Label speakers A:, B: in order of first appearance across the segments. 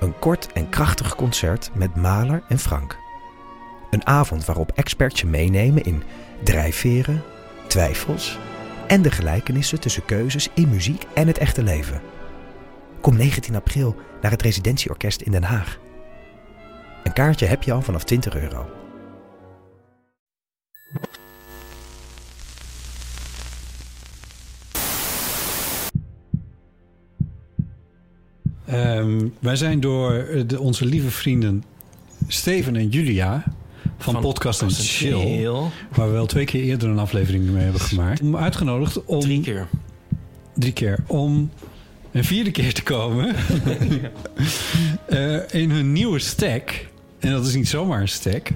A: Een kort en krachtig concert met Maler en Frank. Een avond waarop experts je meenemen in drijfveren, twijfels en de gelijkenissen tussen keuzes in muziek en het echte leven. Kom 19 april naar het Residentieorkest in Den Haag. Een kaartje heb je al vanaf 20 euro.
B: Ehm, wij zijn door eh, de, onze lieve vrienden Steven en Julia van, Podcast en Chill, waar we wel twee keer eerder een aflevering mee hebben gemaakt, om uitgenodigd om
C: Drie keer.
B: drie keer om een vierde keer te komen Eh, in hun nieuwe stack. En dat is niet zomaar een stack.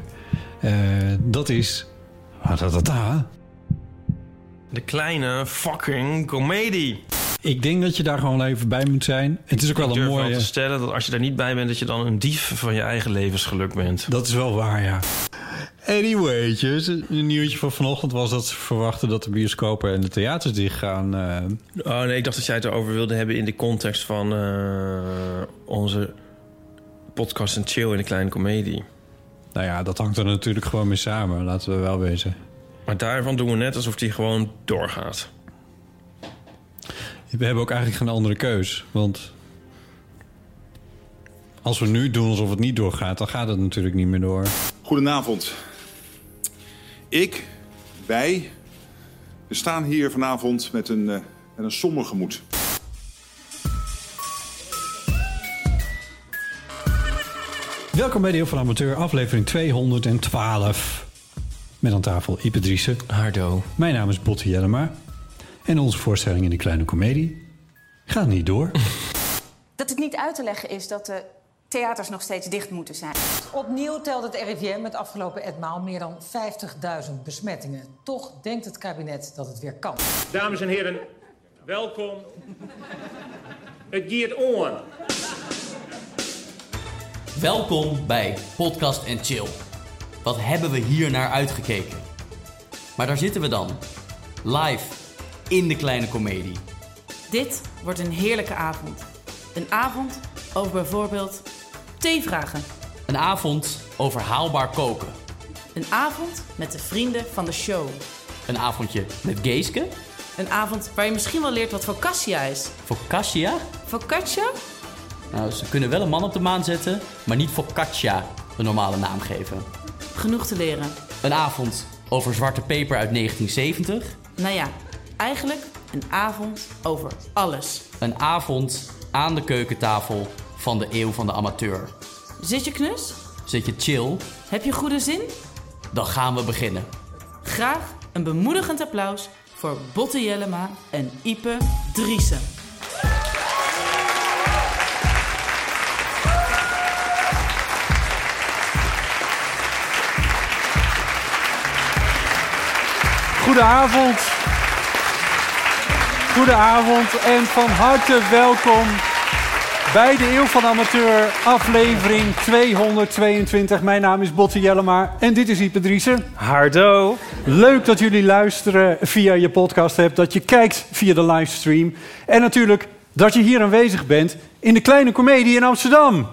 B: Eh, dat is. Ah, da, da, da.
C: De kleine fucking komedie.
B: Ik denk dat je daar gewoon even bij moet zijn. Het is ook wel
C: Ik
B: een
C: durf wel
B: mooie.
C: te stellen dat als je daar niet bij bent... dat je dan een dief van je eigen levensgeluk bent.
B: Dat is wel waar, ja. Anywaytjes, een nieuwtje van vanochtend was dat ze verwachten dat de bioscopen en de theaters dicht gaan. eh,
C: Oh nee, ik dacht dat jij het erover wilde hebben... in de context van eh, onze podcast en chill in de kleine komedie.
B: nou ja, dat hangt er natuurlijk gewoon mee samen, laten we wel wezen.
C: Maar daarvan doen we net alsof die gewoon doorgaat.
B: We hebben ook eigenlijk geen andere keus, want als we nu doen alsof het niet doorgaat, dan gaat het natuurlijk niet meer door.
D: Goedenavond. Ik, wij, we staan hier vanavond met een, eh, met een somber gemoed.
B: Welkom bij Deel van Amateur, aflevering 212. Met aan tafel Ipe Driessen.
C: Hardo.
B: Mijn naam is Botte Jellema. En onze voorstelling in de kleine komedie gaat niet door.
E: Dat het niet uit te leggen is dat de theaters nog steeds dicht moeten zijn.
F: Opnieuw telt het RIVM het afgelopen etmaal meer dan 50.000 besmettingen. Toch denkt het kabinet dat het weer kan.
G: Dames en heren, welkom. Het giert on.
H: Welkom bij Podcast en Chill. Wat hebben we hier naar uitgekeken? Maar daar zitten we dan. Live in de kleine komedie.
I: Dit wordt een heerlijke avond. Een avond over bijvoorbeeld theevragen.
H: Een avond over haalbaar koken.
I: Een avond met de vrienden van de show.
H: Een avondje met Geeske,
I: Een avond waar je misschien wel leert wat focaccia is.
H: focaccia.
I: Focaccia?
H: Nou, ze kunnen wel een man op de maan zetten, maar niet focaccia een normale naam geven.
I: Genoeg te leren.
H: Een avond over zwarte peper uit 1970.
I: Nou ja, eigenlijk een avond over alles.
H: Een avond aan de keukentafel van de eeuw van de amateur.
I: Zit je knus?
H: Zit je chill,
I: Heb je goede zin?
H: dan gaan we beginnen.
I: Graag een bemoedigend applaus voor Botte Jellema en Ipe Driessen.
J: Goedenavond. Goedenavond en van harte welkom bij de Eeuw van de Amateur, aflevering 222. Mijn naam is Botte Jellema en dit is Ipe Driessen.
C: Hardo.
J: Leuk dat jullie luisteren via je podcast hebt, dat je kijkt via de livestream. En natuurlijk dat je hier aanwezig bent in de Kleine Comedie in Amsterdam.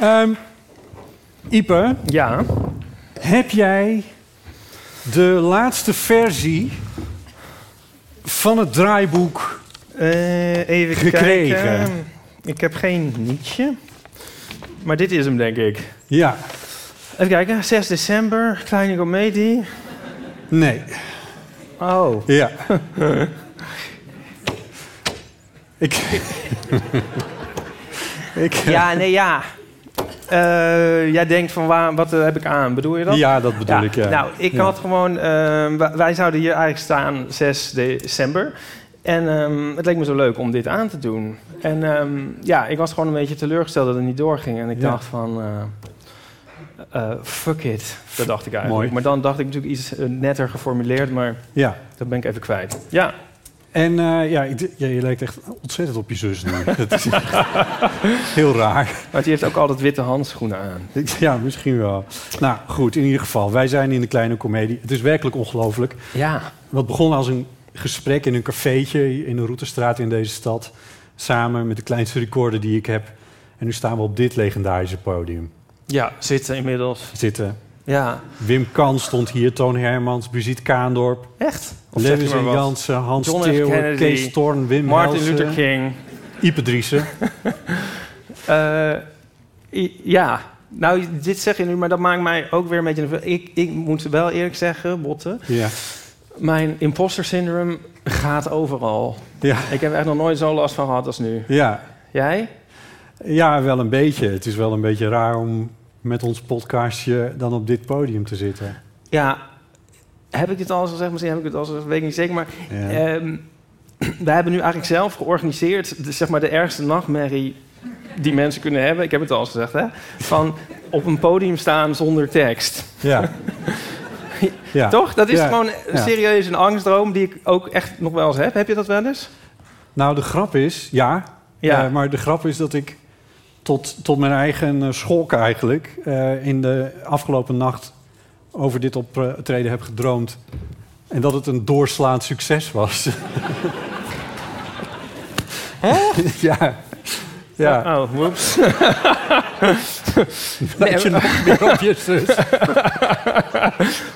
J: Ehm Ipe,
C: Ja.
J: heb jij de laatste versie van het draaiboek?
K: Eh, even
J: Gekregen.
K: kijken. Ik heb geen nietje. Maar dit is hem, denk ik.
J: Ja,
K: Even kijken. 6 december, kleine comedie.
J: nee,
K: Oh.
J: ja. ik... ik...
K: Ja, nee, ja. Eh, jij denkt van, waar, wat eh, heb ik aan? Bedoel je dat?
J: Ja, dat bedoel
K: Ja,
J: ik. Ja.
K: Nou, ik
J: Ja.
K: had gewoon... eh, wa- wij zouden hier eigenlijk staan 6 december. En ehm, het leek me zo leuk om dit aan te doen. En ehm, ja, ik was gewoon een beetje teleurgesteld dat het niet doorging. En ik
J: Ja.
K: dacht van, eh, eh, fuck it. Dat dacht ik eigenlijk.
J: Mooi.
K: Maar dan dacht ik natuurlijk iets eh, netter geformuleerd, maar
J: Ja.
K: dat ben ik even kwijt. Ja.
J: En eh, ja, ik d- ja, je lijkt echt ontzettend op je zus nu. Dat is echt heel raar.
K: Maar die heeft ook altijd witte handschoenen aan.
J: Ja, misschien wel. Nou, goed, in ieder geval. Wij zijn in de kleine komedie. Het is werkelijk ongelooflijk.
K: Ja.
J: Wat begon als een gesprek in een cafeetje in een routestraat in deze stad. Samen met de kleinste recorder die ik heb. En nu staan we op dit legendarische podium.
K: Ja, zitten inmiddels.
J: Zitten.
K: Ja.
J: Wim Kan stond hier, Toon Hermans, Brigitte Kaandorp.
K: Echt? Of zeg
J: Lewis
K: je maar
J: en
K: wat?
J: Jansen, Hans
K: John F.
J: Theo,
K: Kennedy,
J: Kees Thorn, Wim
K: Martin
J: Helsen,
K: Luther King.
J: Ipe Driessen.
K: Eh, i- ja, nou, dit zeg je nu, maar dat maakt mij ook weer een beetje... nerveus. Ik, ik moet wel eerlijk zeggen, Botte...
J: Ja.
K: Mijn imposter syndroom gaat overal.
J: Ja.
K: Ik heb er echt nog nooit zo last van gehad als nu.
J: Ja.
K: Jij?
J: Ja, wel een beetje. Het is wel een beetje raar om met ons podcastje dan op dit podium te zitten.
K: Ja, heb ik dit al eens gezegd? Misschien heb ik het al eens gezegd, weet ik niet zeker. Maar
J: Ja.
K: ehm, wij hebben nu eigenlijk zelf georganiseerd... De, zeg maar de ergste nachtmerrie die mensen kunnen hebben. Ik heb het al eens gezegd, hè? Van op een podium staan zonder tekst.
J: Ja. Ja.
K: Toch? Dat is
J: Ja.
K: gewoon
J: Ja.
K: serieus een angstdroom die ik ook echt nog wel eens heb. Heb je dat wel eens?
J: Nou, de grap is, ja.
K: Ja.
J: Eh, maar de grap is dat ik tot, tot mijn eigen eh, schok eigenlijk... eh, in de afgelopen nacht over dit optreden heb gedroomd. En dat het een doorslaand succes was. ja. Ja.
K: Oh, oh, whoops.
J: Lijkt je nog meer op je zus.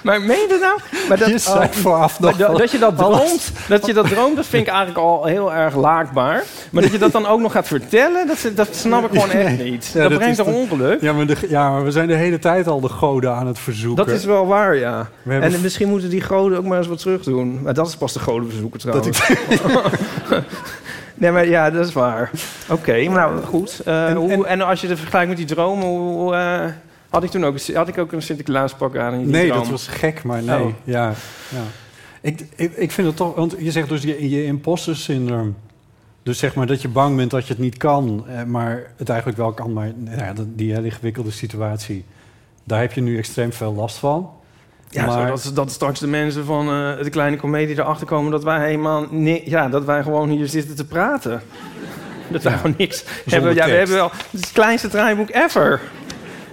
K: maar meen je dat nou? Maar dat,
J: Je zei
K: oh,
J: vooraf
K: maar
J: nog
K: dat,
J: wel
K: dat je dat
J: alles.
K: droomt, dat je dat droomt, dat vind ik eigenlijk al heel erg laakbaar. Maar dat je dat dan ook nog gaat vertellen, dat, dat snap ik gewoon echt
J: Nee.
K: niet.
J: Ja,
K: dat,
J: is
K: brengt toch
J: de-
K: ongeluk?
J: Ja maar, de, ja, maar we zijn de hele tijd al de goden aan het verzoeken.
K: Dat is wel waar, ja.
J: We hebben
K: En misschien moeten die goden ook maar eens wat terug doen. Maar dat is pas de godenverzoeker
J: Dat
K: trouwens. nee, maar ja, dat is waar. Oké, nou goed. Eh, hoe, en, als je het vergelijkt met die dromen, hoe, hoe, eh, had ik toen ook, had ik ook een Sinterklaaspak aan? in die
J: Nee,
K: droom?
J: dat was gek, maar nee.
K: Oh.
J: Ja, ja. Ik, ik, ik vind het toch... Want je zegt dus je, je imposter syndroom. Dus zeg maar dat je bang bent dat je het niet kan. eh, Maar het eigenlijk wel kan. Maar nou ja, dat- die hele ingewikkelde situatie... daar heb je nu extreem veel last van.
K: Ja,
J: maar,
K: zodat dat straks de mensen van eh, de kleine komedie erachter komen dat wij helemaal ni- ja, dat wij gewoon hier zitten te praten. Dat wij
J: Ja.
K: gewoon niks hebben. Ja, we
J: tekst.
K: hebben wel het, is het kleinste draaiboek ever.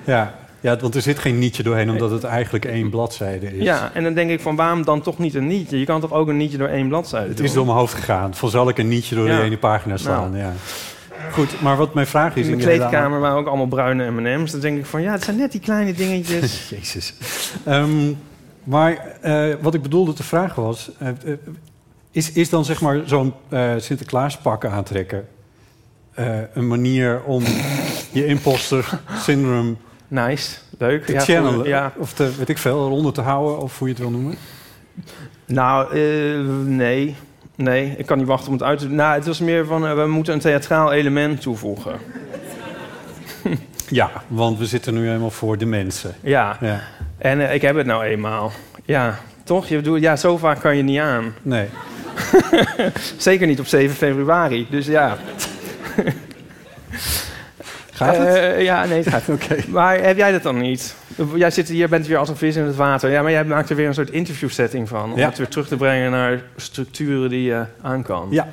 J: ja, ja, want er zit geen nietje doorheen... omdat het eigenlijk één bladzijde is.
K: Ja, en dan denk ik van waarom dan toch niet een nietje? Je kan toch ook een nietje door één bladzijde
J: Het
K: doen?
J: is door mijn hoofd gegaan. Van zal ik een nietje door
K: Ja.
J: de ene pagina slaan.
K: Nou.
J: Ja. Goed, maar wat mijn vraag is...
K: In de
J: inderdaad-
K: kleedkamer waren ook allemaal bruine M&M's. Dan denk ik van ja, het zijn net die kleine dingetjes.
J: Jezus. Ehm, maar eh, wat ik bedoelde te vragen was... eh, eh, is, is dan zeg maar zo'n eh Sinterklaaspak aantrekken... eh, een manier om je imposter syndrome
K: Nice, leuk.
J: te
K: Ja,
J: channelen?
K: goed, ja.
J: Of te, weet ik veel, eronder te houden, of hoe je het wil noemen?
K: Nou, eh, nee. Nee, ik kan niet wachten om het uit te doen. Nou, het was meer van eh, we moeten een theatraal element toevoegen.
J: Ja, want we zitten nu helemaal voor de mensen.
K: Ja.
J: Ja.
K: En eh, ik heb het nou eenmaal. Ja, toch? Je bedoelt, ja, zo vaak kan je niet aan.
J: Nee.
K: Zeker niet op 7 februari. Dus ja.
J: Gaat het?
K: Eh, ja, nee, het gaat. Maar heb jij dat dan niet? Jij zit hier, bent weer als een vis in het water. Ja, maar jij maakt er weer een soort interviewsetting van. Om
J: Eh, Ja.
K: het weer terug te brengen naar structuren die je aan kan.
J: Ja,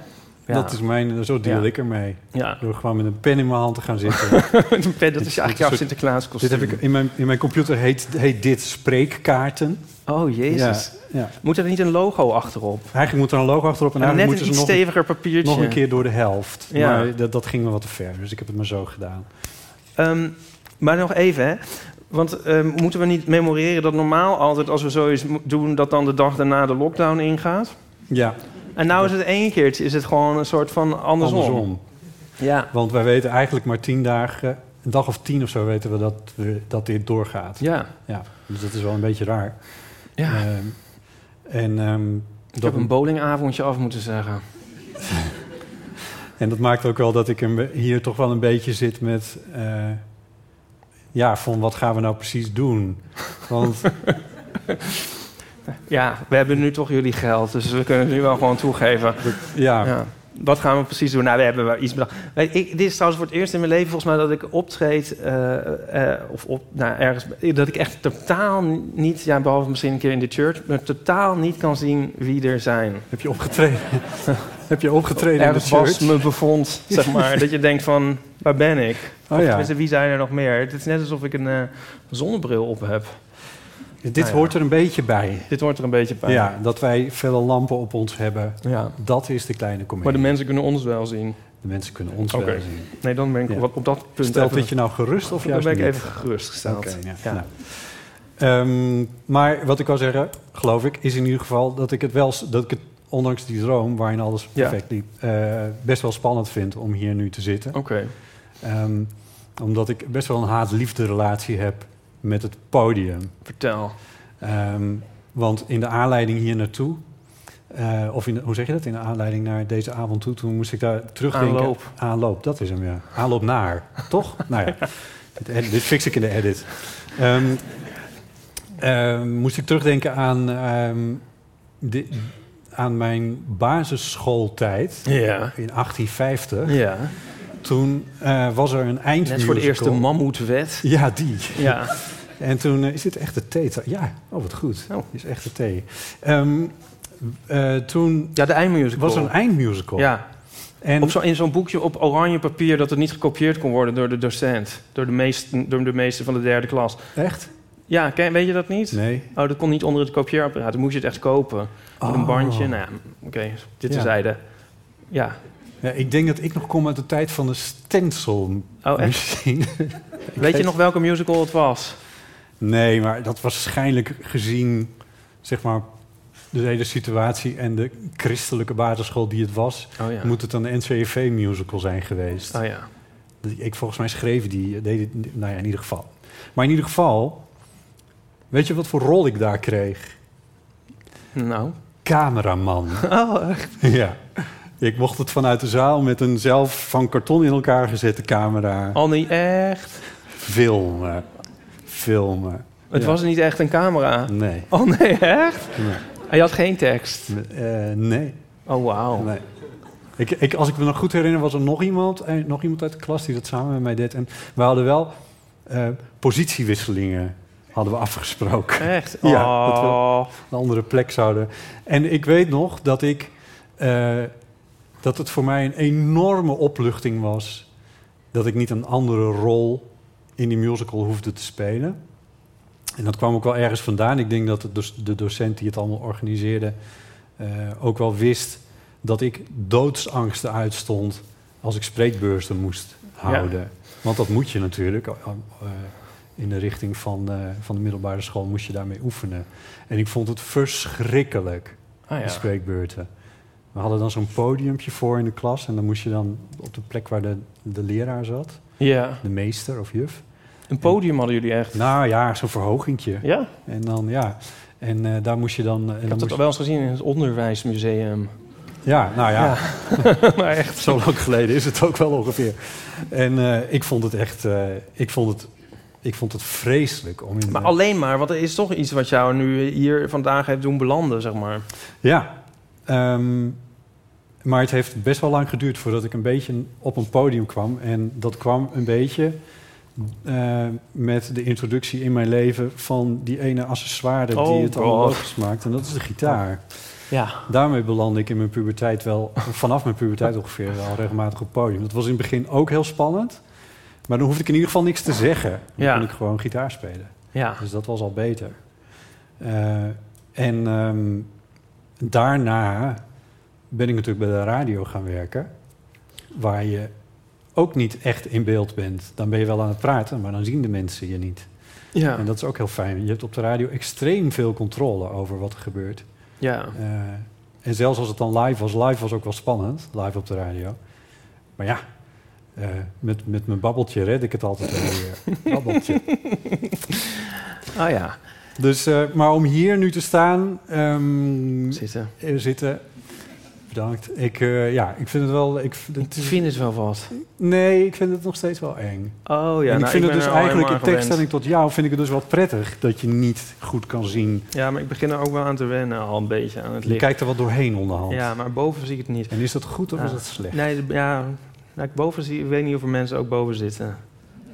K: Ja.
J: dat is mijn... eh, Zo deal
K: Ja.
J: ik ermee.
K: Ja.
J: Door gewoon met een pen in mijn hand te gaan zitten.
K: Een pen, dat is eigenlijk jouw Sinterklaas kostuum.
J: Dit heb ik in mijn, in mijn computer heet, heet dit spreekkaarten.
K: Oh, jezus.
J: Ja, ja.
K: Moet er niet een logo achterop?
J: Eigenlijk moet er een logo achterop en
K: En
J: eigenlijk
K: net
J: moeten
K: een
J: ze
K: iets
J: nog,
K: steviger papiertje.
J: nog een keer door de helft.
K: Ja.
J: Maar dat, dat ging me wat te ver, dus ik heb het maar zo gedaan.
K: Ehm, maar nog even, hè. Want ehm, moeten we niet memoreren dat normaal altijd als we zoiets mo- doen... dat dan de dag daarna de lockdown ingaat?
J: Ja,
K: En nou is het één keertje, is het gewoon een soort van andersom.
J: andersom.
K: Ja.
J: Want wij weten eigenlijk maar tien dagen, een dag of tien of zo weten we dat, we, dat dit doorgaat.
K: Ja.
J: ja. Dus dat is wel een beetje raar.
K: Ja.
J: Ehm, en, ehm,
K: Ik
J: dat-
K: heb een bowlingavondje af moeten zeggen.
J: En dat maakt ook wel dat ik hem hier toch wel een beetje zit met... eh, ja, van wat gaan we nou precies doen? Want
K: Ja, we hebben nu toch jullie geld, dus we kunnen het nu wel gewoon toegeven.
J: Ja.
K: Wat gaan we precies doen? Nou, we hebben wel iets bedacht. Weet ik, dit is trouwens voor het eerst in mijn leven volgens mij dat ik optreed... eh, eh, of op, nou, ergens... dat ik echt totaal niet... Ja, behalve misschien een keer in de church... maar totaal niet kan zien wie er zijn.
J: Heb je opgetreden? Heb je opgetreden in de
K: Ergens
J: church?
K: was me bevond, zeg maar. dat je denkt van, waar ben ik?
J: Oh,
K: of
J: ja.
K: tenminste, wie zijn er nog meer? Het is net alsof ik een eh, zonnebril op heb.
J: Dit
K: Nou ja.
J: hoort er een beetje bij.
K: Dit hoort er een beetje bij.
J: Ja, dat wij vele lampen op ons hebben.
K: Ja.
J: Dat is de kleine komedie.
K: Maar de mensen kunnen ons wel zien.
J: De mensen kunnen ons
K: Oké.
J: wel zien.
K: Nee, dan ben ik
J: Ja.
K: op, op dat punt...
J: Stelt
K: even-
J: dat je nou gerust of
K: Dan
J: juist
K: ben ik
J: niet?
K: even gerustgesteld.
J: Oké, ja.
K: Ja.
J: Nou. Ehm, maar wat ik wil zeggen, geloof ik, is in ieder geval dat ik het wel, dat ik het ondanks die droom waarin alles
K: Ja.
J: perfect liep, eh, best wel spannend vind om hier nu te zitten. Oké. omdat ik best wel een haat-liefde relatie heb met het podium.
K: Vertel.
J: Ehm, want in de aanleiding hier naartoe, eh, of in de- hoe zeg je dat? In de aanleiding naar deze avond toe, toen moest ik daar terugdenken.
K: Aanloop.
J: Aanloop, dat is hem, ja. Aanloop naar, toch? Nou ja, dit, ed- dit fix ik in de edit. Ehm, ehm, moest ik terugdenken aan, ehm, di- aan mijn basisschooltijd
K: Ja.
J: in 1850.
K: Ja.
J: Toen eh, was er een eindmusical.
K: Net voor de eerste mammoetwet.
J: Ja, die.
K: Ja.
J: En toen eh, is dit echt de thee. Ja, oh wat goed. Is echt de thee. Ehm, eh, toen
K: ja, de eindmusical.
J: was er een eindmusical.
K: Ja.
J: En
K: op zo, in zo'n boekje op oranje papier dat het niet gekopieerd kon worden door de docent. Door de meesten, door de meester van de derde klas.
J: Echt?
K: Ja, ken, weet je dat niet?
J: Nee.
K: Oh, dat kon niet onder het kopieerapparaat. Dan moest je het echt kopen. Met een
J: Oh.
K: bandje. Nou ja, oké,
J: Ja.
K: dit terzijde. Ja.
J: Ja, ik denk dat ik nog kom uit de tijd van de stencil.
K: Oh, echt?
J: misschien. Ik
K: Weet je nog welke musical het was?
J: Nee, maar dat waarschijnlijk gezien, zeg maar, de hele situatie en de christelijke basisschool die het was,
K: Oh ja.
J: moet het een NCV-musical zijn geweest.
K: Oh ja.
J: Ik volgens mij schreef die, deed het, nou ja, in ieder geval. Maar in ieder geval, weet je wat voor rol ik daar kreeg?
K: Nou.
J: Cameraman.
K: Oh, echt?
J: Ja. Ik mocht het vanuit de zaal met een zelf van karton in elkaar gezette camera
K: Al niet Oh, echt.
J: filmen. Filmen.
K: Het
J: Ja.
K: was niet echt een camera.
J: Nee.
K: Oh nee, echt?
J: Nee.
K: En je had geen tekst?
J: Eh, nee.
K: Oh, wauw.
J: Nee. Ik, ik, als ik me nog goed herinner, was er nog iemand, eh, nog iemand uit de klas die dat samen met mij deed. En we hadden wel eh, positiewisselingen hadden we afgesproken.
K: Echt?
J: Ja, dat we
K: Oh.
J: een andere plek zouden. En ik weet nog dat ik eh, dat het voor mij een enorme opluchting was dat ik niet een andere rol in die musical hoefde te spelen. En dat kwam ook wel ergens vandaan. Ik denk dat het dus de docent die het allemaal organiseerde eh, ook wel wist dat ik doodsangsten uitstond als ik spreekbeurzen moest houden. Want dat moet je natuurlijk. eh, eh, in de richting van, eh, van de middelbare school moest je daarmee oefenen. En ik vond het verschrikkelijk,
K: Ah, ja.
J: die spreekbeurten. We hadden dan zo'n podiumpje voor in de klas... en dan moest je dan op de plek waar de, de leraar zat...
K: Ja.
J: de meester of juf...
K: Een podium hadden jullie echt?
J: Nou ja, zo'n verhogingtje.
K: Ja?
J: En dan, ja. En eh, daar moest je dan... en
K: Ik
J: dan
K: heb
J: moest
K: dat
J: je-
K: al wel eens gezien in het onderwijsmuseum.
J: Ja, nou ja.
K: maar echt.
J: Zo lang geleden is het ook wel ongeveer. En eh, ik vond het echt... eh, ik, vond het, ik vond het vreselijk om in...
K: Maar alleen maar, want er is toch iets wat jou nu hier vandaag heeft doen belanden, zeg maar.
J: Ja. Ehm, maar het heeft best wel lang geduurd voordat ik een beetje op een podium kwam. En dat kwam een beetje eh, met de introductie in mijn leven van die ene accessoire
K: Oh
J: die het allemaal
K: God.
J: mogelijk maakt. En dat is de gitaar.
K: Ja.
J: Daarmee belandde ik in mijn puberteit wel, vanaf mijn puberteit ongeveer, al regelmatig op het podium. Dat was in het begin ook heel spannend. Maar dan hoefde ik in ieder geval niks te zeggen. Dan
K: Ja.
J: kon ik gewoon gitaar spelen.
K: Ja.
J: Dus dat was al beter. Eh, en ehm, daarna ben ik natuurlijk bij de radio gaan werken. Waar je ook niet echt in beeld bent. Dan ben je wel aan het praten, maar dan zien de mensen je niet.
K: Ja.
J: En dat is ook heel fijn. Je hebt op de radio extreem veel controle over wat er gebeurt.
K: Ja.
J: Eh, en zelfs als het dan live was, live was ook wel spannend, live op de radio. Maar ja, eh, met, met mijn babbeltje red ik het altijd wel weer. babbeltje.
K: Ah ja.
J: Dus, eh, maar om hier nu te staan... ehm,
K: zitten.
J: eh, zitten Bedankt. Ik, eh, ja, ik vind het wel... Ik, het
K: is- vind het wel wat.
J: Nee, ik vind het nog steeds wel eng.
K: Oh ja,
J: en ik
K: nou, ik
J: vind het
K: ben
J: dus
K: er al
J: eigenlijk, in
K: helemaal aan
J: tegenstelling tot jou, vind ik het dus wel prettig dat je niet goed kan zien.
K: Ja, maar ik begin er ook wel aan te wennen, al een beetje aan het
J: Je
K: licht.
J: kijkt er wel doorheen onderhand.
K: Ja, maar boven zie ik het niet.
J: En is dat goed of
K: Ja.
J: is dat slecht?
K: Nee, d- ja, nou, ik boven zie, ik weet niet of er mensen ook boven zitten.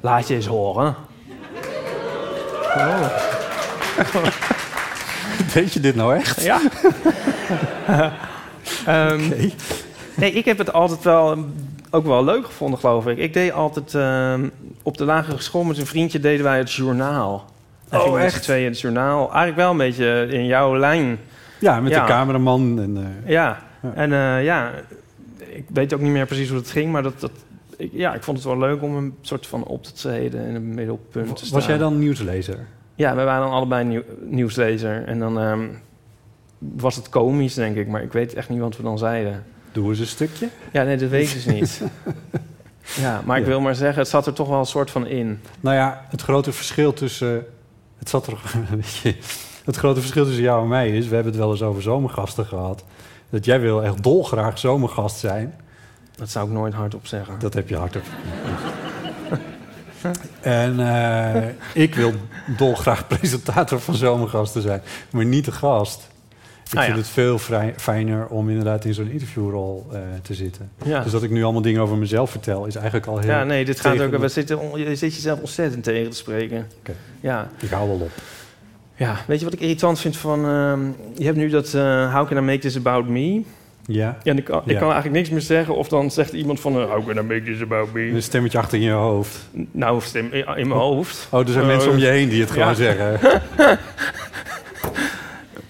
K: Laat je eens horen. Oh.
J: Weet je dit nou echt?
K: Ja. Ehm, Nee, ik heb het altijd wel mm, ook wel leuk gevonden, geloof ik. Ik deed altijd ehm, op de lagere school met een vriendje deden wij het journaal. Dan
J: Oh,
K: gingen we met z'n
J: echt?
K: tweeën het journaal. Eigenlijk wel een beetje in jouw lijn.
J: Ja, met
K: Ja.
J: de cameraman. En, eh,
K: Ja, en eh, ja, ik weet ook niet meer precies hoe dat ging, maar dat, dat, ik, ja, ik vond het wel leuk om een soort van op te treden in het middelpunt te staan.
J: was jij dan nieuwslezer?
K: Ja, we waren dan allebei nieuw- nieuwslezer. En dan ehm, was het komisch, denk ik, maar ik weet echt niet wat we dan zeiden.
J: Doe eens een stukje.
K: Ja, nee, dat weet ik dus niet. ja, maar ik
J: Ja.
K: wil maar zeggen, het zat er toch wel een soort van in.
J: Nou ja, het grote verschil tussen. eh, Het zat er. weet je, Het grote verschil tussen jou en mij is. We hebben het wel eens over zomergasten gehad. Dat jij wil echt dolgraag zomergast zijn.
K: Dat zou ik nooit hardop zeggen.
J: Dat heb je hardop. en eh, ik wil dolgraag presentator van zomergasten zijn, maar niet de gast. Ik
K: Ah, ja.
J: vind het veel vrij- fijner om inderdaad in zo'n interviewrol eh, te zitten.
K: Ja.
J: Dus dat ik nu allemaal dingen over mezelf vertel, is eigenlijk al heel.
K: Ja, nee, dit gaat
J: tegen
K: ook.
J: de-
K: We zitten, on- je zit jezelf ontzettend tegen te spreken. Ja.
J: Ik hou wel op.
K: Ja, weet je wat ik irritant vind van... ehm, je hebt nu dat eh, How Can I Make This About Me?
J: Ja.
K: Ja, en ik, kan- ik
J: Ja.
K: kan eigenlijk niks meer zeggen. Of dan zegt iemand van... eh, How Can I Make This About Me?
J: Een stemmetje achter in je hoofd.
K: Nou, of stem in, in mijn hoofd.
J: Oh, er zijn
K: Eh,
J: mensen om je heen die het gewoon
K: ja.
J: zeggen.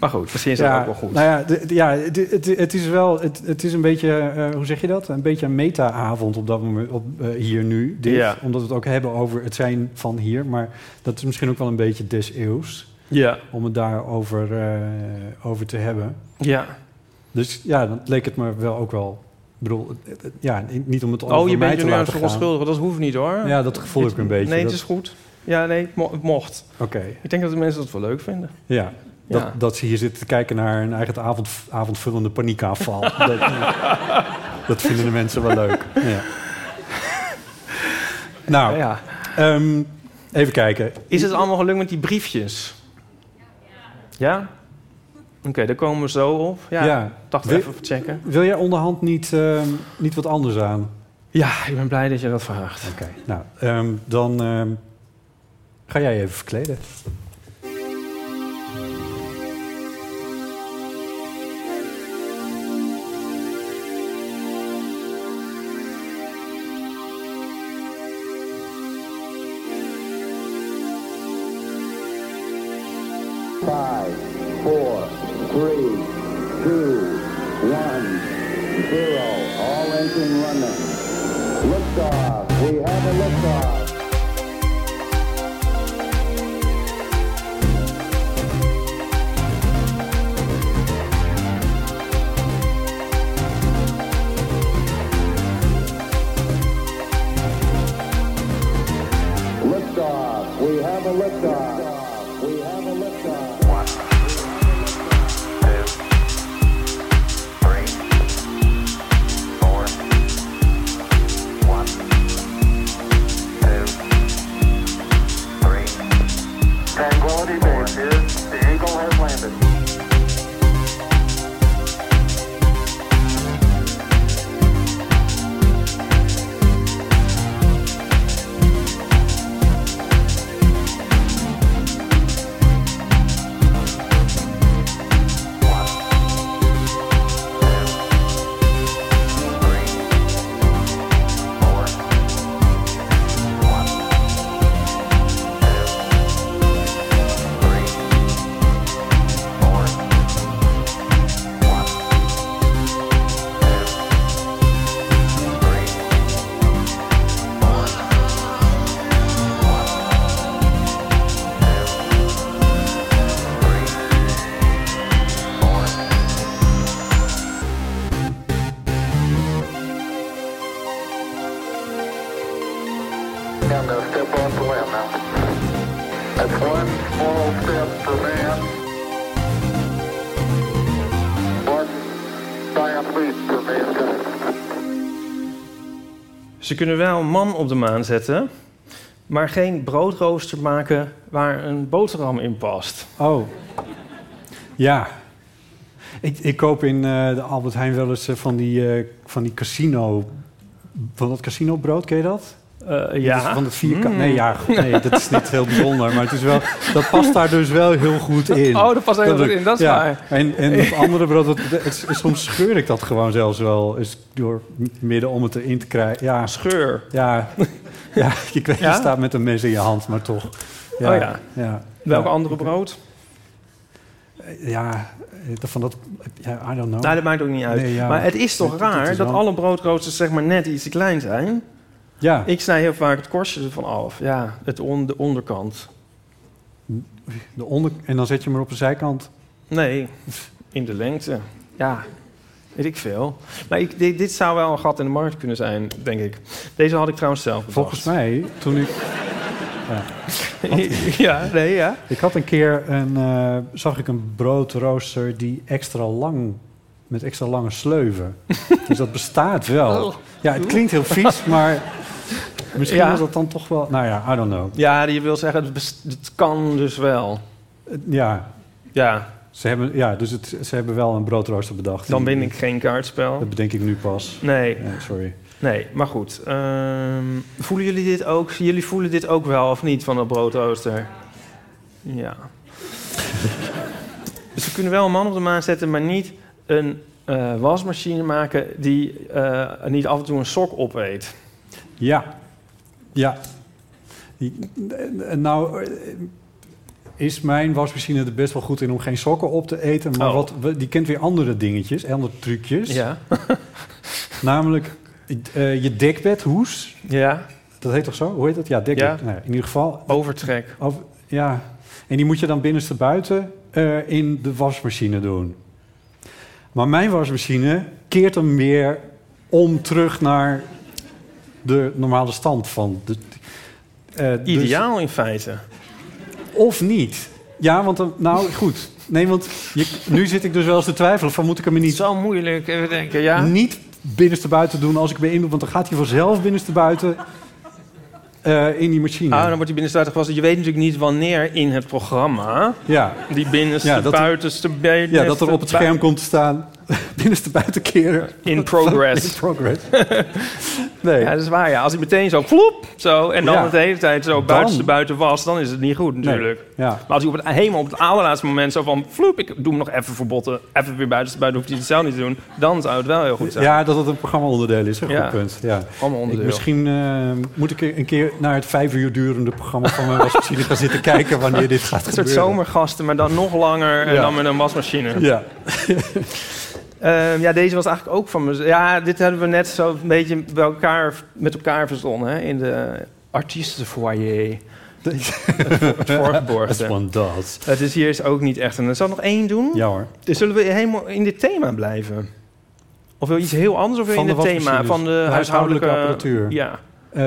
K: maar goed, misschien is dat ook wel goed.
J: Nou ja, d- d- ja d- het, het is wel, het, het is een beetje, eh, hoe zeg je dat? Een beetje een meta-avond op dat moment, op, eh, hier nu. Dit,
K: Ja.
J: Omdat we het ook hebben over het zijn van hier. Maar dat is misschien ook wel een beetje des eeuws.
K: Ja.
J: Om het daarover eh, over te hebben.
K: Ja.
J: Dus ja, dan leek het me wel ook wel... Ik bedoel, het- het- ja, niet om het
K: Oh,
J: over
K: je
J: mij
K: bent
J: te
K: je nu aan het
J: laten gaan.
K: verontschuldigen. Dat hoeft niet hoor.
J: Ja, dat gevoel heb ik een beetje.
K: Nee,
J: Dat-
K: het is goed. Ja, nee, het mo- het mocht.
J: Oké.
K: Ik denk dat de mensen dat wel leuk vinden.
J: Ja. Dat,
K: Ja.
J: dat ze hier zitten te kijken naar een eigen avond, avondvullende paniekaanval. dat, dat vinden de mensen wel leuk. Ja. Nou, ehm, even kijken.
K: Is het allemaal gelukt met die briefjes? Ja? Oké, daar komen we zo op. Ja,
J: Ja.
K: dacht
J: Wil-
K: even checken.
J: Wil jij onderhand niet, ehm, niet wat anders aan?
K: Ja, ik ben blij dat je dat vraagt.
J: Oké, nou, ehm, dan ehm, ga jij je even verkleden.
L: Five, four, three, two, one, zero. All engine running. Liftoff. We have a liftoff. Liftoff. We have a liftoff. We have a liftoff. Tranquility Base here. The Eagle has landed. And now step off the land now. That's one small step for man, one giant leap
C: Ze kunnen wel een man op de maan zetten, maar geen broodrooster maken waar een boterham in past.
J: Oh. Ja. Ik, ik koop in eh, de Albert Heijn wel eens eh, van, die, eh, van die casino... Van dat casino brood, ken je dat?
C: Eh, ja.
J: Dat is Van het vierkant.
C: Mm.
J: Nee, ja, goed, nee, dat is niet heel bijzonder. Maar het is wel, dat past daar dus wel heel goed in.
C: Oh, dat past heel goed in, dat is
J: ja.
C: waar.
J: En, en dat andere brood, dat, dat- het- soms scheur ik dat gewoon zelfs wel. Is door midden om het erin te krijgen. Ja.
C: Scheur?
J: Ja, ja ik weet,
C: Ja?
J: je staat met een mes in je hand, maar toch.
C: Oh ja. Welke andere brood?
J: Ja, eh, van dat... Ja, I don't know.
C: Nou, dat maakt ook niet uit.
J: Oh. Nee, ja.
C: Maar het is toch
J: Het- het
C: raar
J: is
C: dat
J: wel-
C: alle broodroosters zeg maar net iets te klein zijn?
J: Ja.
C: Ik snij heel vaak het korstje ervan af. Ja, het on- de onderkant.
J: De onder, en dan zet je hem er op de zijkant.
C: Nee, in de lengte. Ja, weet ik veel. Maar ik, dit, dit zou wel een gat in de markt kunnen zijn, denk ik. Deze had ik trouwens zelf bedacht.
J: Volgens mij, toen ik... Ja. Want-
C: ja, nee, ja.
J: Ik had een keer een... eh, zag ik een broodrooster die extra lang... Met extra lange sleuven. dus dat bestaat wel. Ja, het klinkt heel vies, maar... Misschien
C: Oh. Ja.
J: was dat dan toch wel... Nou ja, I don't know.
C: Ja, je wil zeggen, het, bes- het kan dus wel.
J: Eh, Ja.
C: Ja.
J: Ze hebben, ja, dus het, ze hebben wel een broodrooster bedacht.
C: Dan win ik geen kaartspel.
J: Dat bedenk ik nu pas.
C: Nee.
J: Ja, sorry.
C: Nee, maar goed. Ehm, voelen jullie dit ook? Jullie voelen dit ook wel of niet van dat broodrooster? Ja. dus we kunnen wel een man op de maan zetten, maar niet een eh, wasmachine maken die eh, niet af en toe een sok opeet.
J: Ja. Ja. Die- eh, Nou eh, is mijn wasmachine er best wel goed in om geen sokken op te eten. Maar
C: Oh.
J: wat, we- die kent weer andere dingetjes, andere trucjes.
C: Ja.
J: Namelijk eh, je dekbedhoes.
C: Ja.
J: Dat heet toch zo? Hoe heet dat? Ja, dekbed.
C: Ja.
J: Nou, in ieder geval.
C: Overtrek.
J: Over- ja. En die moet je dan binnenstebuiten eh in de wasmachine doen. Maar mijn wasmachine keert hem weer om terug naar de normale stand van de. eh, dus-
C: Ideaal in feite.
J: of niet. Ja, want dan, nou goed. Nee, want je, nu zit ik dus wel eens te twijfelen van moet ik hem er niet
C: zo moeilijk even denken, ja.
J: Niet binnenste buiten doen als ik ben in, want dan gaat hij vanzelf binnenste buiten eh, in die machine.
C: Ah, dan wordt die binnenstuiter gewassen. Je weet natuurlijk niet wanneer in het programma
J: Ja.
C: die binnenste,
J: Ja, dat er-
C: buitenste, binnenste...
J: Ja, dat er op het
C: bui-
J: scherm komt te staan binnenste buiten keren.
C: In progress.
J: In progress.
C: Nee. Ja, dat is waar. Ja. Als hij meteen zo floep, zo, en dan
J: Ja.
C: de hele tijd zo
J: Dan.
C: buitenste buiten was, dan is het niet goed natuurlijk.
J: Nee, ja.
C: Maar als hij op het, helemaal op het allerlaatste moment zo van floep, ik doe hem nog even verbotten, even weer buitenste buiten, hoeft hij het zelf niet te doen, dan zou het wel heel goed zijn.
J: Ja, dat het een programma-onderdeel is. Een
C: Ja.
J: goed punt. Ja.
C: Programma-onderdeel.
J: Ik- Misschien eh, moet ik een keer naar het vijf uur durende programma van mijn wasmachine gaan zitten kijken wanneer dit gaat
C: Een
J: gebeuren.
C: soort zomergasten, maar dan nog langer en
J: Ja.
C: dan met een wasmachine.
J: Ja.
C: Ehm, ja, deze was eigenlijk ook van me. Ja, dit hebben we net zo een beetje bij elkaar, met elkaar verzonnen hè, in de artiestenfoyer. Het
J: As
C: voorgeborgde.
J: one does.
C: Het is hier is ook niet echt een. Zal ik nog één doen?
J: Ja hoor.
C: Dus zullen we helemaal in dit thema blijven? Of wil je iets heel anders of wil je
J: Van
C: in het
J: de
C: thema
J: wasmachines.
C: van de
J: De
C: huishoudelijke
J: huishoudelijke apparatuur.
C: Ja.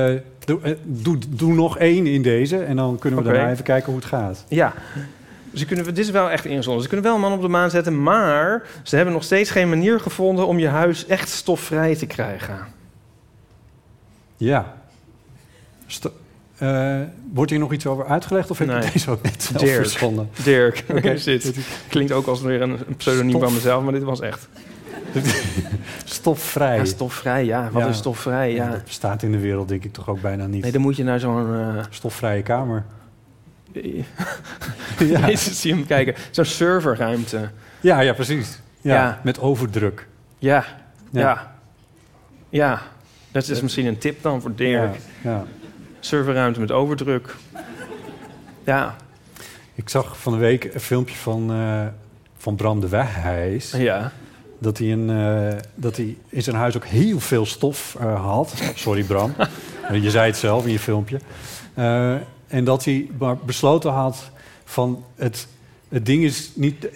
J: Eh, doe, eh, doe, doe nog één in deze en dan kunnen we
C: Oké.
J: daarna even kijken hoe het gaat.
C: Ja. Ze kunnen, dit is wel echt inzonden. Ze kunnen wel een man op de maan zetten, maar ze hebben nog steeds geen manier gevonden om je huis echt stofvrij te krijgen.
J: Ja. Sto- eh, wordt hier nog iets over uitgelegd of heb
C: Nee.
J: ik deze ook net zelf
C: Dirk.
J: verzonnen?
C: Dirk,
J: Oké.
C: is dit. Klinkt ook als weer een een pseudoniem
J: Stof.
C: van mezelf, maar dit was echt.
J: Stofvrij.
C: Ja, stofvrij, ja. Wat is stofvrij, ja.
J: Dat bestaat in de wereld denk ik toch ook bijna niet.
C: Nee, dan moet je naar zo'n... eh,
J: Stofvrije kamer.
C: ja. Jezus, zie hem kijken. Zo'n serverruimte.
J: Ja, ja, precies. Ja,
C: Ja.
J: Met overdruk.
C: Ja,
J: Ja.
C: ja. Ja. Dat is misschien een tip dan voor Dirk.
J: Ja, ja.
C: Serverruimte met overdruk. Ja,
J: Ik zag van de week een filmpje van, eh, van Bram de Weghijs.
C: Ja.
J: Dat hij, een, eh, dat hij in zijn huis ook heel veel stof eh, had. Sorry Bram, je zei het zelf in je filmpje. Eh, en dat hij maar besloten had van het, het ding is niet...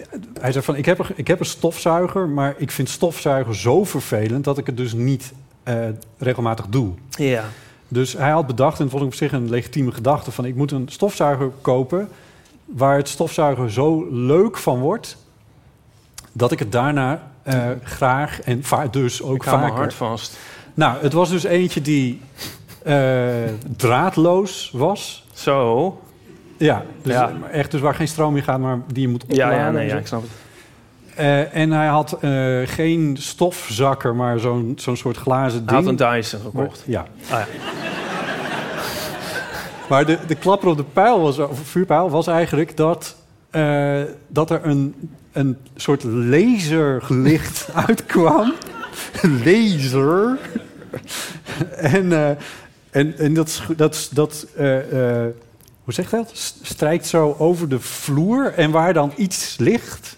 J: Hij zei van ik heb, een, ik heb een stofzuiger, maar ik vind stofzuiger zo vervelend... dat ik het dus niet eh, regelmatig doe.
C: ja.
J: Dus hij had bedacht, en dat vond ik op zich een legitieme gedachte... van ik moet een stofzuiger kopen waar het stofzuiger zo leuk van wordt... dat ik het daarna eh, graag en va- dus ook
C: Ik hou mijn
J: vaker...
C: hart vast.
J: Nou, het was dus eentje die eh, draadloos was.
C: Zo.
J: Ja, dus
C: Ja.
J: echt dus waar geen stroom in gaat, maar die je moet
C: Ja,
J: opladen.
C: ja, nee,
J: en zo.
C: ja, ik snap het.
J: Eh, en hij had eh, geen stofzakker, maar zo'n zo'n soort glazen
C: Hij
J: ding.
C: had een Dyson gekocht.
J: Ja.
C: Ah, ja.
J: Maar de, de klapper op de pijl was, of vuurpijl was eigenlijk dat, eh, dat er een, een soort laserlicht uitkwam. Laser. en, eh, en, en dat, scho- dat, dat eh, eh, hoe zeg je dat? S- Strijkt zo over de vloer en waar dan iets ligt,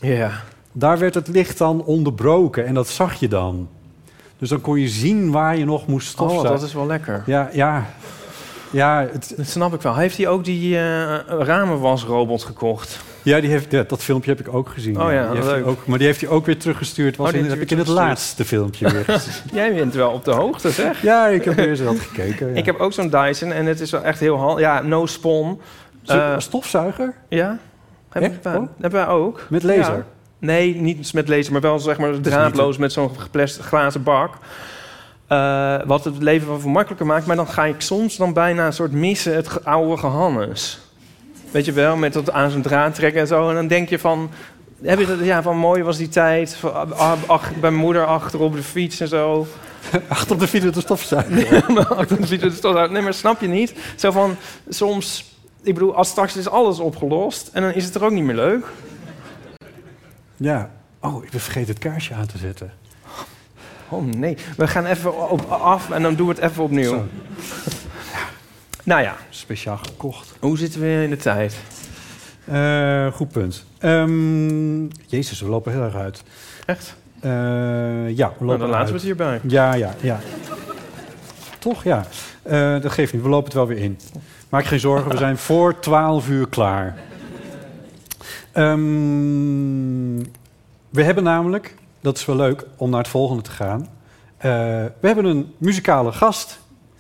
J: daar werd het licht dan onderbroken en dat zag je dan. Dus dan kon je zien waar je nog moest
C: Oh,
J: stofzuigen.
C: dat is wel lekker.
J: Ja, ja. ja het,
C: dat snap ik wel. Heeft hij ook die eh, ramenwasrobot gekocht?
J: Ja, die heeft, ja, dat filmpje heb ik ook gezien.
C: Oh ja,
J: Die heeft hij
C: leuk.
J: ook, maar die heeft hij ook weer teruggestuurd. Was
C: Oh, die
J: in,
C: heeft
J: heb
C: hij
J: ik in
C: weer
J: het laatste filmpje weer gezien.
C: Jij bent wel op de hoogte, zeg.
J: Ja, ik heb weer eens wat gekeken. ja.
C: Ik heb ook zo'n Dyson en het is wel echt heel handig. Ja, no spon.
J: Zo- Oh.
C: Eh,
J: een stofzuiger?
C: Ja. Hebben
J: Echt?
C: wij, hebben wij ook.
J: Met laser?
C: Ja. Nee, niet met laser, maar wel zeg maar
J: Dus niet
C: draadloos met zo'n plastic glazen bak. Eh, wat het leven wel veel makkelijker maakt. Maar dan ga ik soms dan bijna een soort missen het ge- oude gehannes. Weet je wel, met dat aan zo'n draad trekken en zo. En dan denk je van... Heb je dat, ja, van mooi was die tijd. Van, ah, ach, bij mijn moeder achter op de fiets en zo.
J: achter op de fiets met de stofzuiger?
C: Nee, maar achter de fiets met de stofzuiger. Nee, maar snap je niet? Zo van, soms... Ik bedoel, als straks is alles opgelost... en dan is het er ook niet meer leuk.
J: Ja. Oh, ik ben vergeten het kaarsje aan te zetten.
C: Oh nee, we gaan even op, af en dan doen we het even opnieuw.
J: Zo.
C: Nou ja,
J: Speciaal gekocht.
C: hoe zitten we in de tijd?
J: Eh, goed punt. Ehm, Jezus, we lopen heel erg uit.
C: Echt? Nou,
J: Eh, ja, we lopen
C: dan laten we
J: uit.
C: het hierbij.
J: Ja, ja, ja. Toch, ja. Eh, dat geeft niet, we lopen het wel weer in. Maak geen zorgen, we zijn voor 12 uur klaar. Ehm, we hebben namelijk, dat is wel leuk om naar het volgende te gaan. Eh, we hebben een muzikale gast.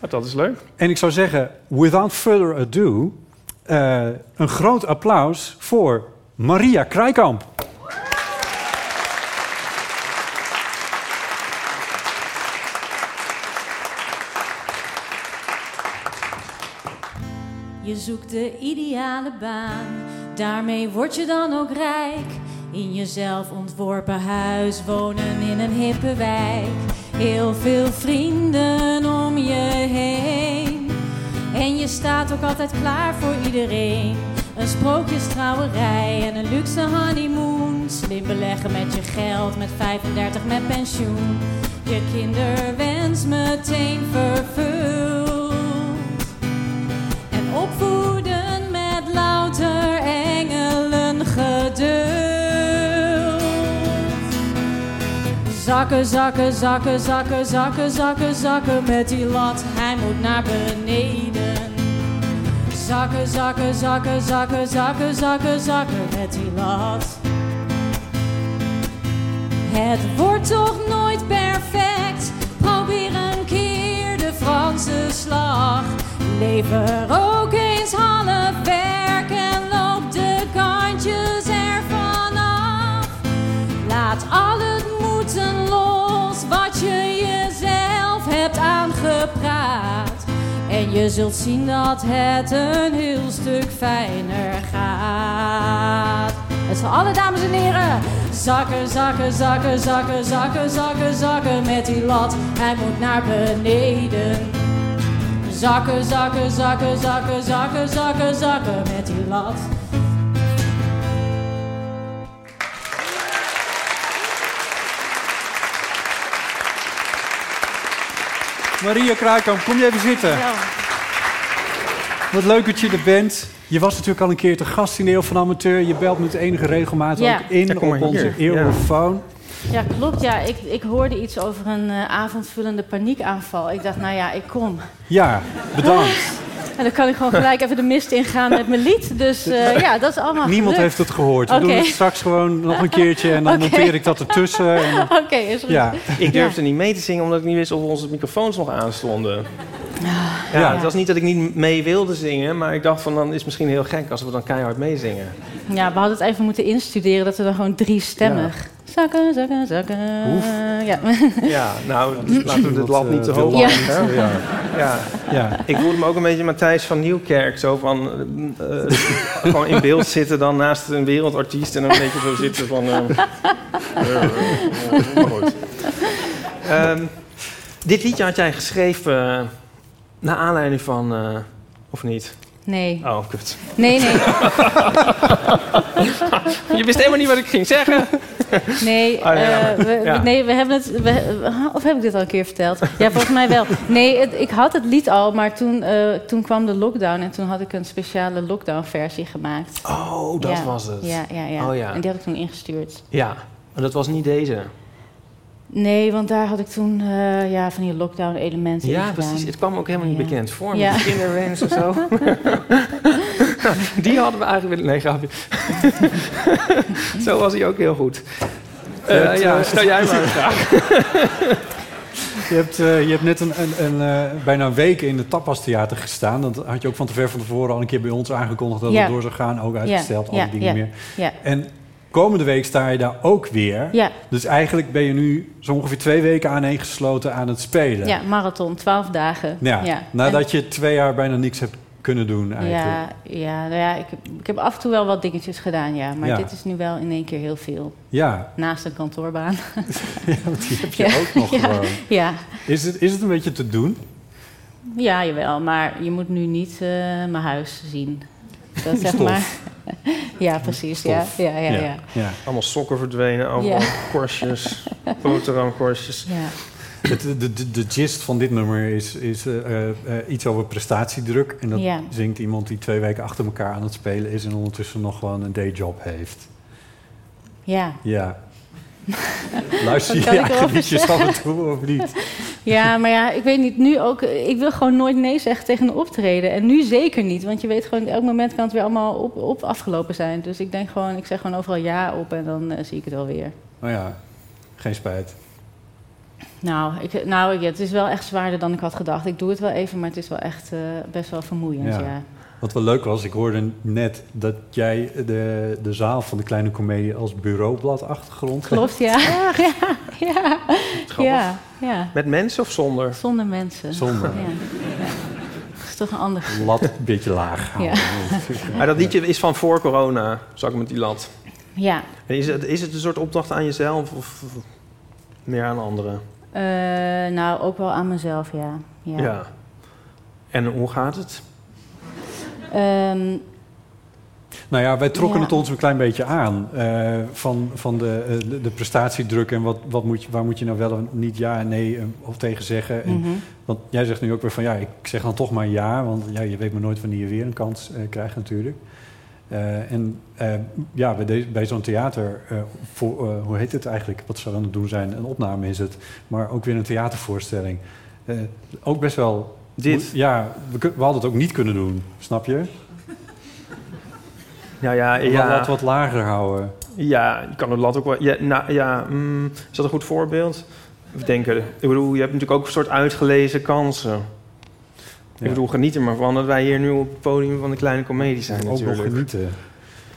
C: Dat is leuk.
J: En ik zou zeggen, without further ado, eh, een groot applaus voor Maria Krijkamp.
M: Je zoekt de ideale baan, daarmee word je dan ook rijk. In jezelf ontworpen huis, wonen in een hippe wijk. Heel veel vrienden om je heen. En je staat ook altijd klaar voor iedereen. Een sprookjestrouwerij en een luxe honeymoon. Slim beleggen met je geld, met 35 met pensioen. Je kinderwens meteen vervuld. En opvoeden met louter engelen geduld. Zakken, zakken, zakken, zakken, zakken, zakken, zakken met die lat. Hij moet naar beneden. Zakken, zakken, zakken, zakken, zakken, zakken, zakken met die lat. Het wordt toch nooit perfect. Probeer een keer de Franse slag. Lever ook eens half werk en loop de kantjes ervan af. Laat al het moeten los wat je jezelf hebt aangepraat. En je zult zien dat het een heel stuk fijner gaat. Het zijn alle dames en heren. Zakken, zakken, zakken, zakken, zakken, zakken, zakken met die lat. Hij moet naar beneden. Zakken, zakken, zakken, zakken, zakken, zakken, zakken met die lat.
J: Maria Kruikamp, kom je even zitten. Wat leuk dat je er bent. Je was natuurlijk al een keer te gast in Eeuw van Amateur. Je belt met enige regelmaat
M: Ja.
J: ook in
M: Ja, kom maar
J: op onze
M: hier. Ja.
J: eeuwfoon.
M: Ja, klopt. Ja, ik, ik hoorde iets over een eh, avondvullende paniekaanval. Ik dacht, nou ja, ik kom.
J: Ja,
M: Ah,
J: bedankt.
M: En dan kan ik gewoon gelijk even de mist ingaan met mijn lied. Dus eh, ja, dat is allemaal
J: Niemand
M: gelukt.
J: heeft het gehoord. We
M: Oké.
J: doen het straks gewoon nog een keertje en dan
M: Oké.
J: monteer ik dat ertussen. En...
M: Oké, is goed.
J: Ja.
C: Ik durfde niet mee te zingen omdat ik niet wist of onze microfoons nog aanstonden. Ja,
M: Ja.
C: Het was niet dat ik niet mee wilde zingen, maar ik dacht van dan is het misschien heel gek als we dan keihard meezingen.
M: Ja, we hadden het even moeten instuderen dat we dan gewoon drie stemmig
C: Ja.
M: Zakken, zakken, zakken.
C: Oef.
M: Ja.
C: Ja, nou, laten we het lat niet te
M: te
C: hoog
M: lang,
C: leggen.
M: hè?
C: Ja.
M: Ja.
C: Ja.
J: Ja.
C: Ik voelde me ook een beetje Matthijs van Nieuwkerk. Zo van, eh, eh, gewoon in beeld zitten dan naast een wereldartiest... en een beetje zo zitten van... eh, eh, eh, maar goed. Ehm, dit liedje had jij geschreven eh, naar aanleiding van... eh, of niet?
M: Nee.
C: Oh, kut.
M: Nee, nee.
C: Je wist helemaal niet wat ik ging zeggen.
M: Nee,
C: Oh, ja.
M: eh, we,
C: Ja.
M: nee, we hebben het. we- of heb ik dit al een keer verteld? Ja, volgens mij wel. Nee, het- ik had het lied al, maar toen, eh, toen kwam de lockdown en toen had ik een speciale lockdown-versie gemaakt.
C: Oh, dat was het.
M: Ja, ja, ja.
C: Oh, ja.
M: En die had ik toen ingestuurd.
C: Ja, maar dat was niet deze.
M: Nee, want daar had ik toen eh, ja, van die lockdown-elementen in
C: Ja,
M: gedaan.
C: precies. Het kwam ook helemaal niet
M: Ja.
C: bekend voor.
M: Ja.
C: Met kinderwens of zo. die hadden we eigenlijk willen... Nee, grapje. zo was hij ook heel goed. Eh,
J: Het,
C: ja,
J: eh,
C: stel jij maar een vraag.
J: Je hebt, eh, je hebt net een, een, een, eh, bijna een week in het Tapas Theater gestaan. Dat had je ook van te ver van tevoren al een keer bij ons aangekondigd dat
M: Ja.
J: het door zou gaan. Ook uitgesteld, al
M: Ja,
J: die
M: ja,
J: dingen
M: ja,
J: meer.
M: ja.
J: En komende week sta je daar ook weer.
M: Ja.
J: Dus eigenlijk ben je nu zo ongeveer twee weken aaneengesloten aan het spelen.
M: Ja, marathon, twaalf dagen.
J: Ja, Nadat je twee jaar bijna niks hebt kunnen doen
M: En-
J: eigenlijk.
M: ja, ja, nou ja ik, heb, ik heb af en toe wel wat dingetjes gedaan, ja. Maar
J: Ja.
M: dit is nu wel in één keer heel veel.
J: Ja.
M: Naast een kantoorbaan.
J: Ja, want die heb je ook nog
M: ja,
J: gewoon.
M: Ja,
J: Is, het, is het een beetje te doen?
M: ja, jawel. Maar je moet nu niet eh, mijn huis zien. Dat zeg
C: Stof.
M: maar. ja, precies. Ja,
C: Stof.
M: ja, ja, ja.
C: Allemaal sokken verdwenen, allemaal
M: Ja.
C: korstjes, boterhamkorstjes.
M: Ja.
J: Het, de, de, de gist van dit nummer is, is eh, eh, eh, iets over prestatiedruk. En dat
M: Ja.
J: zingt iemand die twee weken achter elkaar aan het spelen is... en ondertussen nog gewoon een dayjob heeft.
M: Ja.
J: Ja. Luister je
M: Wat kan
J: je
M: ik
J: eigen
M: erover
J: liedjes af
M: zeggen?
J: en toe of niet?
M: Ja, maar ja, ik weet niet, nu ook... Ik wil gewoon nooit nee zeggen tegen een optreden. En nu zeker niet, want je weet gewoon... Elk moment kan het weer allemaal op, op afgelopen zijn. Dus ik denk gewoon, ik zeg gewoon overal ja op... en dan eh, zie ik het wel weer.
J: Nou ja, geen spijt.
M: Nou, ik, nou ja, het is wel echt zwaarder dan ik had gedacht. Ik doe het wel even, maar het is wel echt eh, best wel vermoeiend,
J: Ja.
M: ja.
J: Wat wel leuk was, ik hoorde net dat jij de, de zaal van de Kleine Comedie als bureaublad achtergrond
M: Klopt, ja. Ja, ja, ja. ja,
C: Met mensen of zonder?
M: Zonder mensen.
J: Zonder.
M: Ja. Ja. Dat is toch een ander gevoel.
J: Lat een beetje laag.
M: Ja.
C: Maar Ah, dat liedje is van voor corona, zak met die lat.
M: Ja,
C: En Is het, is het een soort opdracht aan jezelf of of meer aan anderen?
M: eh, nou ook wel aan mezelf, ja. ja.
C: En hoe gaat het?
M: Ehm,
J: Nou ja, wij trokken
M: Ja.
J: het ons een klein beetje aan eh, van, van de, eh, de, de prestatiedruk en wat, wat moet je, waar moet je nou wel en niet ja en nee eh, of tegen zeggen. En,
M: Mhm.
J: Want jij zegt nu ook weer van ja, ik zeg dan toch maar ja, want ja, je weet maar nooit wanneer je weer een kans eh, krijgt natuurlijk. Eh, en eh, ja, bij, deze- bij zo'n theater, eh, voor, eh, hoe heet het eigenlijk? Wat zou aan het doen zijn? Een opname is het, maar ook weer een theatervoorstelling. Eh, ook best wel.
C: Dit?
J: Ja, we, kun- we hadden het ook niet kunnen doen, snap je?
C: Ja, ja,
J: Laat-
C: ja.
J: laat wat lager houden.
C: Ja, je kan de lat ook wel... Ja, nou, ja, mm, is dat een goed voorbeeld? Even denken. Ik bedoel, je hebt natuurlijk ook een soort uitgelezen kansen. Ik bedoel, geniet er maar van dat wij hier nu op het podium van de kleine komedie zijn
J: Ook nog
C: natuurlijk.
J: genieten.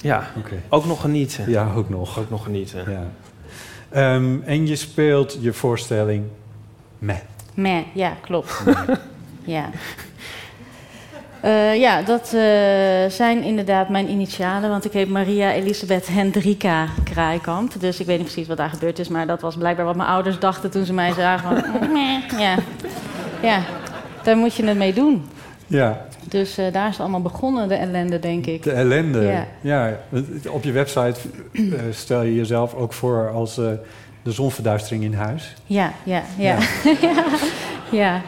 C: Ja,
J: Oké.
C: ook nog genieten.
J: Ja, ook nog.
C: Ook nog genieten.
J: Ja. Ehm, en je speelt je voorstelling meh.
M: Meh, ja, klopt. ja. Eh, ja, dat eh, zijn inderdaad mijn initialen. Want ik heet Maria Elisabeth Hendrika Kraaikamp. Dus ik weet niet precies wat daar gebeurd is. Maar dat was blijkbaar wat mijn ouders dachten toen ze mij zagen. Van, meh, ja. ja, daar moet je het mee doen.
J: Ja,
M: Dus eh, daar is het allemaal begonnen, de ellende, denk ik.
J: de ellende. Ja.
M: Ja.
J: het- het- op je website eh, stel je jezelf ook voor als eh, de zonverduistering in huis.
M: Ja, ja, ja. Ja, ja.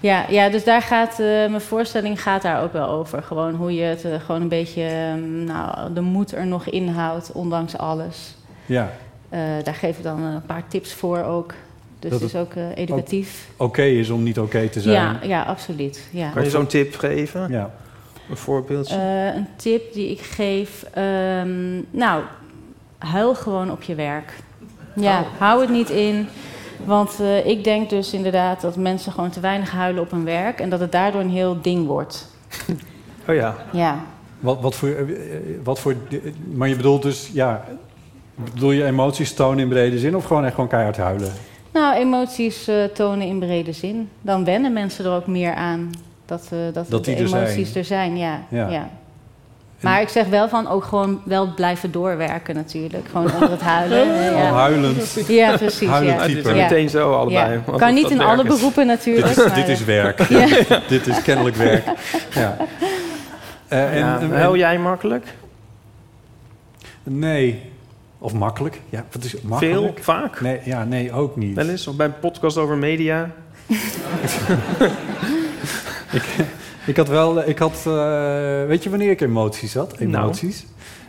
M: ja, ja dus daar gaat eh, mijn voorstelling gaat daar ook wel over. Gewoon hoe je het eh, gewoon een beetje ehm, nou, de moed er nog in houdt, ondanks alles.
J: Ja.
M: Eh, daar geef ik dan een paar tips voor ook. Dus
J: Dat
M: het is
J: het
M: ook eh, educatief.
J: Oké is om niet oké te zijn.
M: ja, ja, absoluut. Ja.
C: Kan je zo'n tip geven?
J: Ja.
C: Een voorbeeldje?
M: Eh, een tip die ik geef. ehm, nou, huil gewoon op je werk. Ja, hou het niet in. Want eh, ik denk dus inderdaad dat mensen gewoon te weinig huilen op hun werk. En dat het daardoor een heel ding wordt.
C: oh ja.
M: Ja.
J: Wat, wat voor, eh, eh, wat voor, eh, maar je bedoelt dus, ja, Bedoel je emoties tonen in brede zin of gewoon echt gewoon keihard huilen?
K: Nou, emoties eh, tonen in brede zin. Dan wennen mensen er ook meer aan dat, eh, dat,
J: Dat
K: de
J: die er zijn.
K: emoties er zijn. Ja,
J: Ja.
K: ja. Maar ik zeg wel van ook gewoon wel blijven doorwerken natuurlijk. Gewoon onder het huilen. hè, ja.
J: Gewoon huilend.
K: Ja, precies.
J: Huilend
K: ja.
J: type.
K: Ja.
C: Meteen zo allebei, want
K: Kan niet
C: dat
K: in
C: werkt.
K: alle beroepen natuurlijk.
J: Dit is,
K: maar,
J: dit is
K: eh,
J: werk.
K: ja.
J: dit is kennelijk werk. Ja. Eh, en-
C: Ja,
J: en-
C: huil jij makkelijk?
J: Nee. Of makkelijk? Ja, wat is makkelijk?
C: Veel? Vaak?
J: Nee, ja, nee, ook niet.
C: Wel eens? Of bij een podcast over media?
J: ik, ik had wel, ik had, eh, weet je wanneer ik emoties had?
C: Nou.
J: Emoties.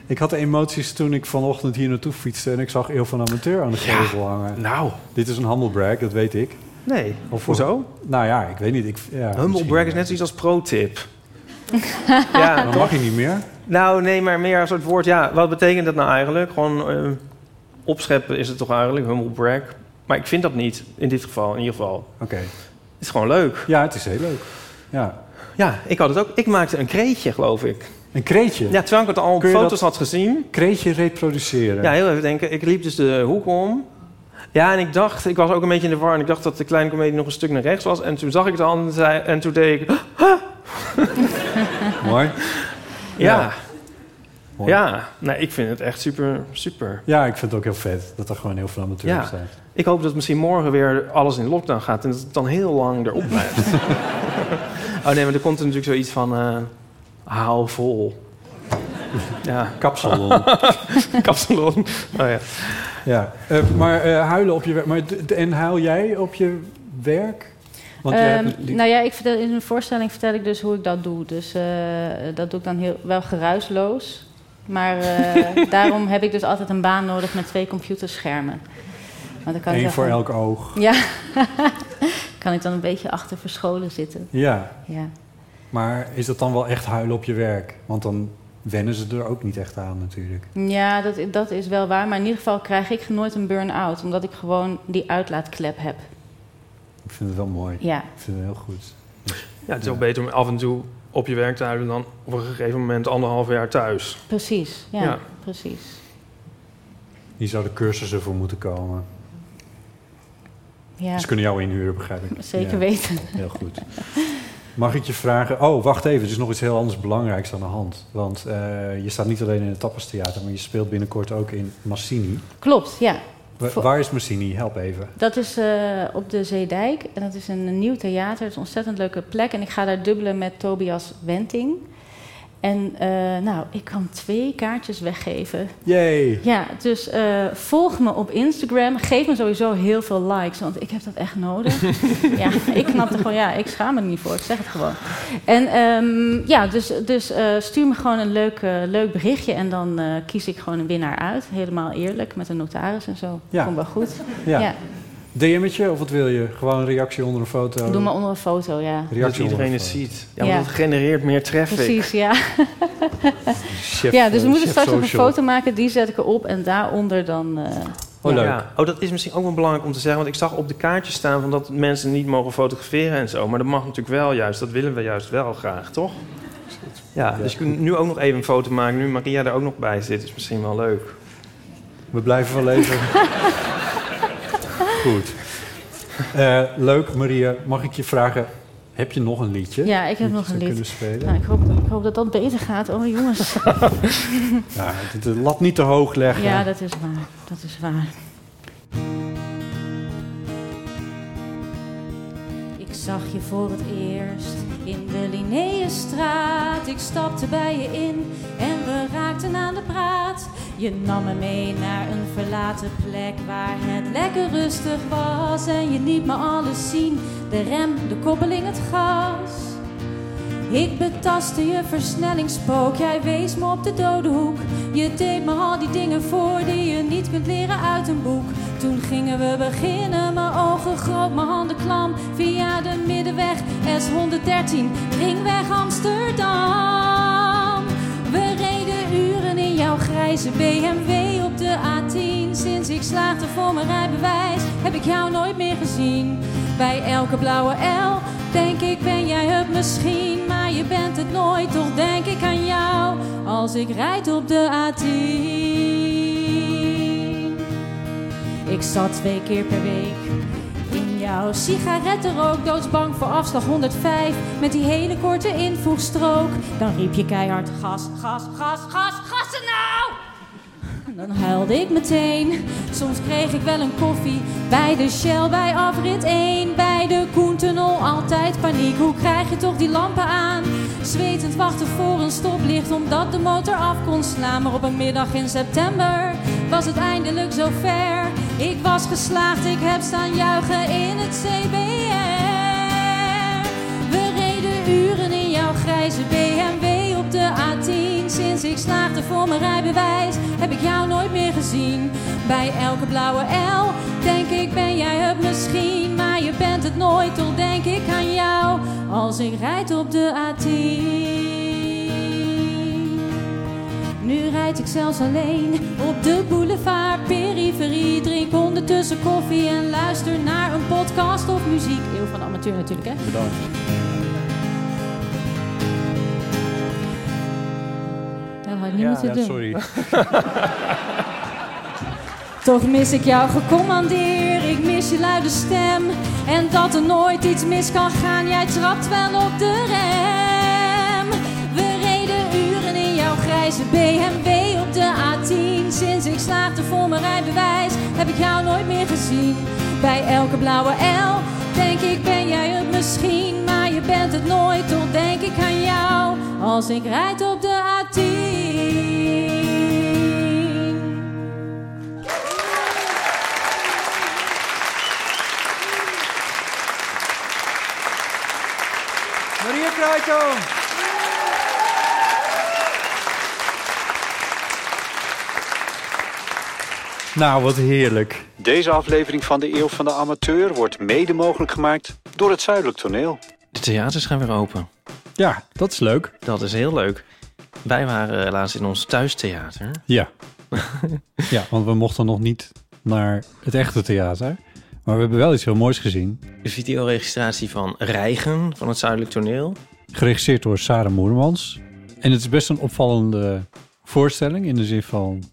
J: Ik had emoties toen ik vanochtend hier naartoe fietste en ik zag Eeuw van Amateur aan de gevel hangen.
C: Nou.
J: Dit is een humble brag, dat weet ik.
C: Nee,
J: Of
C: hoezo?
J: Nou ja, ik weet niet. Ik, ja,
C: Humble
J: Oh, misschien.
C: brag is net zoiets als pro-tip. ja,
J: Dan
C: toch?
J: mag je niet meer.
C: Nou, nee, maar meer een soort woord. Ja, wat betekent dat nou eigenlijk? Gewoon eh, opscheppen is het toch eigenlijk, humble brag. Maar ik vind dat niet, in dit geval, in ieder geval.
J: Oké.
C: Het is gewoon leuk.
J: Ja, het is heel leuk. Ja.
C: Ja, ik had het ook. Ik maakte een kreetje, geloof ik.
J: Een kreetje?
C: Ja, terwijl ik het al op
J: Kun je
C: foto's
J: dat
C: had gezien.
J: Kreetje reproduceren.
C: Ja, heel even denken. Ik liep dus de hoek om. Ja, en ik dacht, ik was ook een beetje in de war. En ik dacht dat de kleine komedie nog een stuk naar rechts was. En toen zag ik het al en, zei, en toen deed ik...
J: Mooi.
C: Ja. Ja,
J: Mooi.
C: nou, ik vind het echt super, super.
J: Ja, ik vind het ook heel vet dat er gewoon heel veel amateurs
C: Ja.
J: zijn.
C: Ik hoop dat misschien morgen weer alles in lockdown gaat en dat het dan heel lang erop blijft. oh nee, maar er komt er natuurlijk zoiets van eh, hou vol. ja.
J: Kapsalon.
C: Kapsalon. Oh ja.
J: Ja, eh, maar eh, huilen op je werk. Maar d- d- en huil jij op je werk? jij
K: Ehm,
J: hebt die-
K: Nou ja, ik vertel, in een voorstelling vertel ik dus hoe ik dat doe. Dus eh, dat doe ik dan heel, wel geruisloos. Maar eh, daarom heb ik dus altijd een baan nodig met twee computerschermen. Want dan kan ik
J: Eén
K: wel
J: voor
K: gewoon-
J: elk oog.
K: Ja. kan ik dan een beetje achter verscholen zitten.
J: Ja,
K: Ja.
J: maar is dat dan wel echt huilen op je werk? Want dan wennen ze er ook niet echt aan natuurlijk.
K: Ja, dat, dat is wel waar. Maar in ieder geval krijg ik nooit een burn-out. Omdat ik gewoon die uitlaatklep heb.
J: Ik vind het wel mooi.
K: Ja.
J: Ik vind het heel goed.
C: ja, het is ook beter om af en toe op je werk te houden dan op een gegeven moment anderhalf jaar thuis.
K: Precies, ja,
C: Ja.
K: precies.
J: Hier zouden cursussen voor moeten komen.
K: Ja.
J: Ze kunnen jou inhuren, begrijp ik.
K: Zeker
J: Ja.
K: weten.
J: Heel goed. Mag ik je vragen? Oh, wacht even. Er is nog iets heel anders belangrijks aan de hand. Want eh, je staat niet alleen in het Tapperstheater, maar je speelt binnenkort ook in Massini.
K: Klopt, ja.
J: Wa-
K: Voor-
J: Waar is Massini? Help even.
K: Dat is eh, op de Zeedijk en dat is een nieuw theater. Het is een ontzettend leuke plek en ik ga daar dubbelen met Tobias Wenting. En eh, nou, ik kan twee kaartjes weggeven.
J: Jee.
K: Ja, dus eh, volg me op Instagram. Geef me sowieso heel veel likes, want ik heb dat echt nodig. ja, ik knap er gewoon, ja, ik schaam me er niet voor. Ik zeg het gewoon. En ehm, ja, dus, dus eh, stuur me gewoon een leuk, eh, leuk berichtje en dan eh, kies ik gewoon een winnaar uit. Helemaal eerlijk, met een notaris en zo.
J: Ja.
K: Komt wel goed.
J: Ja. DM'tje of wat wil je? Gewoon een reactie onder een foto?
K: Doe maar onder een foto, ja.
C: Dat
J: Reactie
C: iedereen
J: onder
C: het
J: een foto.
C: ziet. Ja, want
K: Ja.
C: dat genereert meer traffic.
K: Precies, ja.
J: Chef,
K: ja, dus
C: eh,
K: we moeten
C: chef
K: straks nog een
C: social.
K: foto maken. Die zet ik erop en daaronder dan... eh,
J: Oh, leuk.
C: Ja. Oh, dat is misschien ook wel belangrijk om te zeggen. Want ik zag op de kaartjes staan van dat mensen niet mogen fotograferen en zo. Maar dat mag natuurlijk wel juist. Dat willen we juist wel graag, toch? Ja, dus je kunt nu ook nog even een foto maken. Nu Maria er ook nog bij zit, is misschien wel leuk.
J: We blijven wel even. goed. Eh, leuk, Maria. Mag ik je vragen, heb je nog een liedje?
K: ja, ik heb
J: dat
K: nog
J: je zou
K: een lied.
J: kunnen spelen?
K: Nou, ik, hoop, ik hoop dat dat beter gaat. Oh, jongens.
J: Ja, de de lat niet te hoog leggen.
K: ja, dat is waar. Dat is waar.
M: Ik zag je voor het eerst in de Linnaeusstraat. Ik stapte bij je in en we raakten aan de praat. Je nam me mee naar een verlaten plek waar het lekker rustig was. En je liet me alles zien, de rem, de koppeling, het gas. Ik betastte je versnellingspook, jij wees me op de dode hoek. Je deed me al die dingen voor die je niet kunt leren uit een boek. Toen gingen we beginnen, mijn ogen groot, mijn handen klam. Via de middenweg S113, ringweg Amsterdam. We reden uren in jouw grijze BMW op de A10. Sinds ik slaagde voor mijn rijbewijs, heb ik jou nooit meer gezien. Bij elke blauwe L denk ik ben jij het misschien. Maar je bent het nooit, toch denk ik aan jou als ik rijd op de A10. Ik zat twee keer per week in jouw sigarettenrook. Doodsbang voor afslag 105 met die hele korte invoegstrook. Dan riep je keihard gas, gas, gas, gas, gassen nou! Dan huilde ik meteen. Soms kreeg ik wel een koffie bij de Shell, bij afrit 1. Bij de Koentunnel altijd paniek. Hoe krijg je toch die lampen aan? Zwetend wachten voor een stoplicht omdat de motor af kon slaan. Maar op een middag in september was het eindelijk zover. Ik was geslaagd, ik heb staan juichen in het CBR. We reden uren in jouw grijze BMW op de A10. Sinds ik slaagde voor mijn rijbewijs heb ik jou nooit meer gezien. Bij elke blauwe L denk ik ben jij het misschien. Maar je bent het nooit, toch denk ik aan jou als ik rijd op de A10. Nu rijd ik zelfs alleen op de boulevard periferie. Drink ondertussen koffie en luister naar een podcast of muziek. Eeuw van de amateur natuurlijk, hè?
N: Bedankt.
M: Dat had ik niet
J: Ja,
M: moeten
J: ja,
M: doen.
J: sorry.
M: Toch mis ik jou gecommandeer, ik mis je luide stem. En dat er nooit iets mis kan gaan, jij trapt wel op de rem. We reden uren in jouw grijze BMW op de A10. Sinds ik slaagde voor mijn rijbewijs, heb ik jou nooit meer gezien. Bij elke blauwe L denk ik ben jij het misschien. Maar je bent het nooit, toch denk ik aan jou als ik rijd op de A10.
N: Maria Kruikamp.
J: Nou, wat heerlijk.
O: Deze aflevering van de Eeuw van de Amateur wordt mede mogelijk gemaakt door het Zuidelijk Toneel.
C: De theaters gaan weer open.
J: Ja, dat is leuk.
C: Dat is heel leuk. Wij waren eh, laatst in ons thuistheater.
J: Ja. ja, want we mochten nog niet naar het echte theater. Maar we hebben wel iets heel moois gezien.
C: De videoregistratie van Reigen van het Zuidelijk Toneel.
J: Geregisseerd door Sarah Moermans. En het is best een opvallende voorstelling. In de zin van,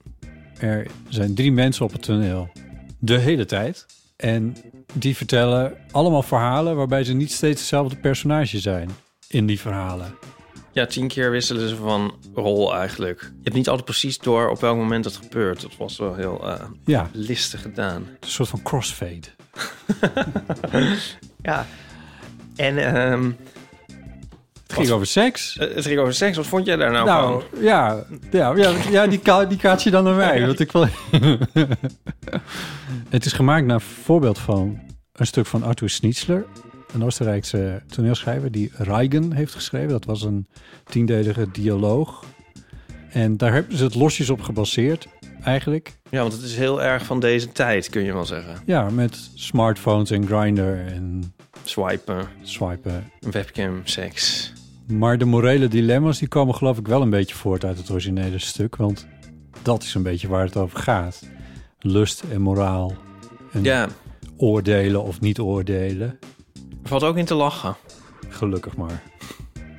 J: er zijn drie mensen op het toneel. De hele tijd. En die vertellen allemaal verhalen waarbij ze niet steeds hetzelfde personage zijn. In die verhalen.
C: Ja, tien keer wisselen ze van rol eigenlijk. Je hebt niet altijd precies door op welk moment het gebeurt. Dat was wel heel eh,
J: Ja.
C: listig gedaan.
J: Een soort van crossfade.
C: ja. En ehm,
J: Het ging over seks.
C: eh, het ging over seks. Wat vond jij daar nou,
J: Nou,
C: van?
J: ja, ja, ja, ja die, ka die kaart je dan naar mij. Want ik wil... het is gemaakt naar voorbeeld van een stuk van Arthur Schnitzler. Een Oostenrijkse toneelschrijver die Reigen heeft geschreven. Dat was een tiendelige dialoog. En daar hebben ze het losjes op gebaseerd, eigenlijk.
C: Ja, want het is heel erg van deze tijd, kun je wel zeggen.
J: Ja, met smartphones en grinder en
C: Swipen,
J: swipen.
C: webcam, seks.
J: Maar de morele dilemma's die komen geloof ik wel een beetje voort uit het originele stuk. Want dat is een beetje waar het over gaat. Lust en moraal. En
C: Ja.
J: oordelen of niet oordelen.
C: Valt ook in te lachen.
J: Gelukkig maar.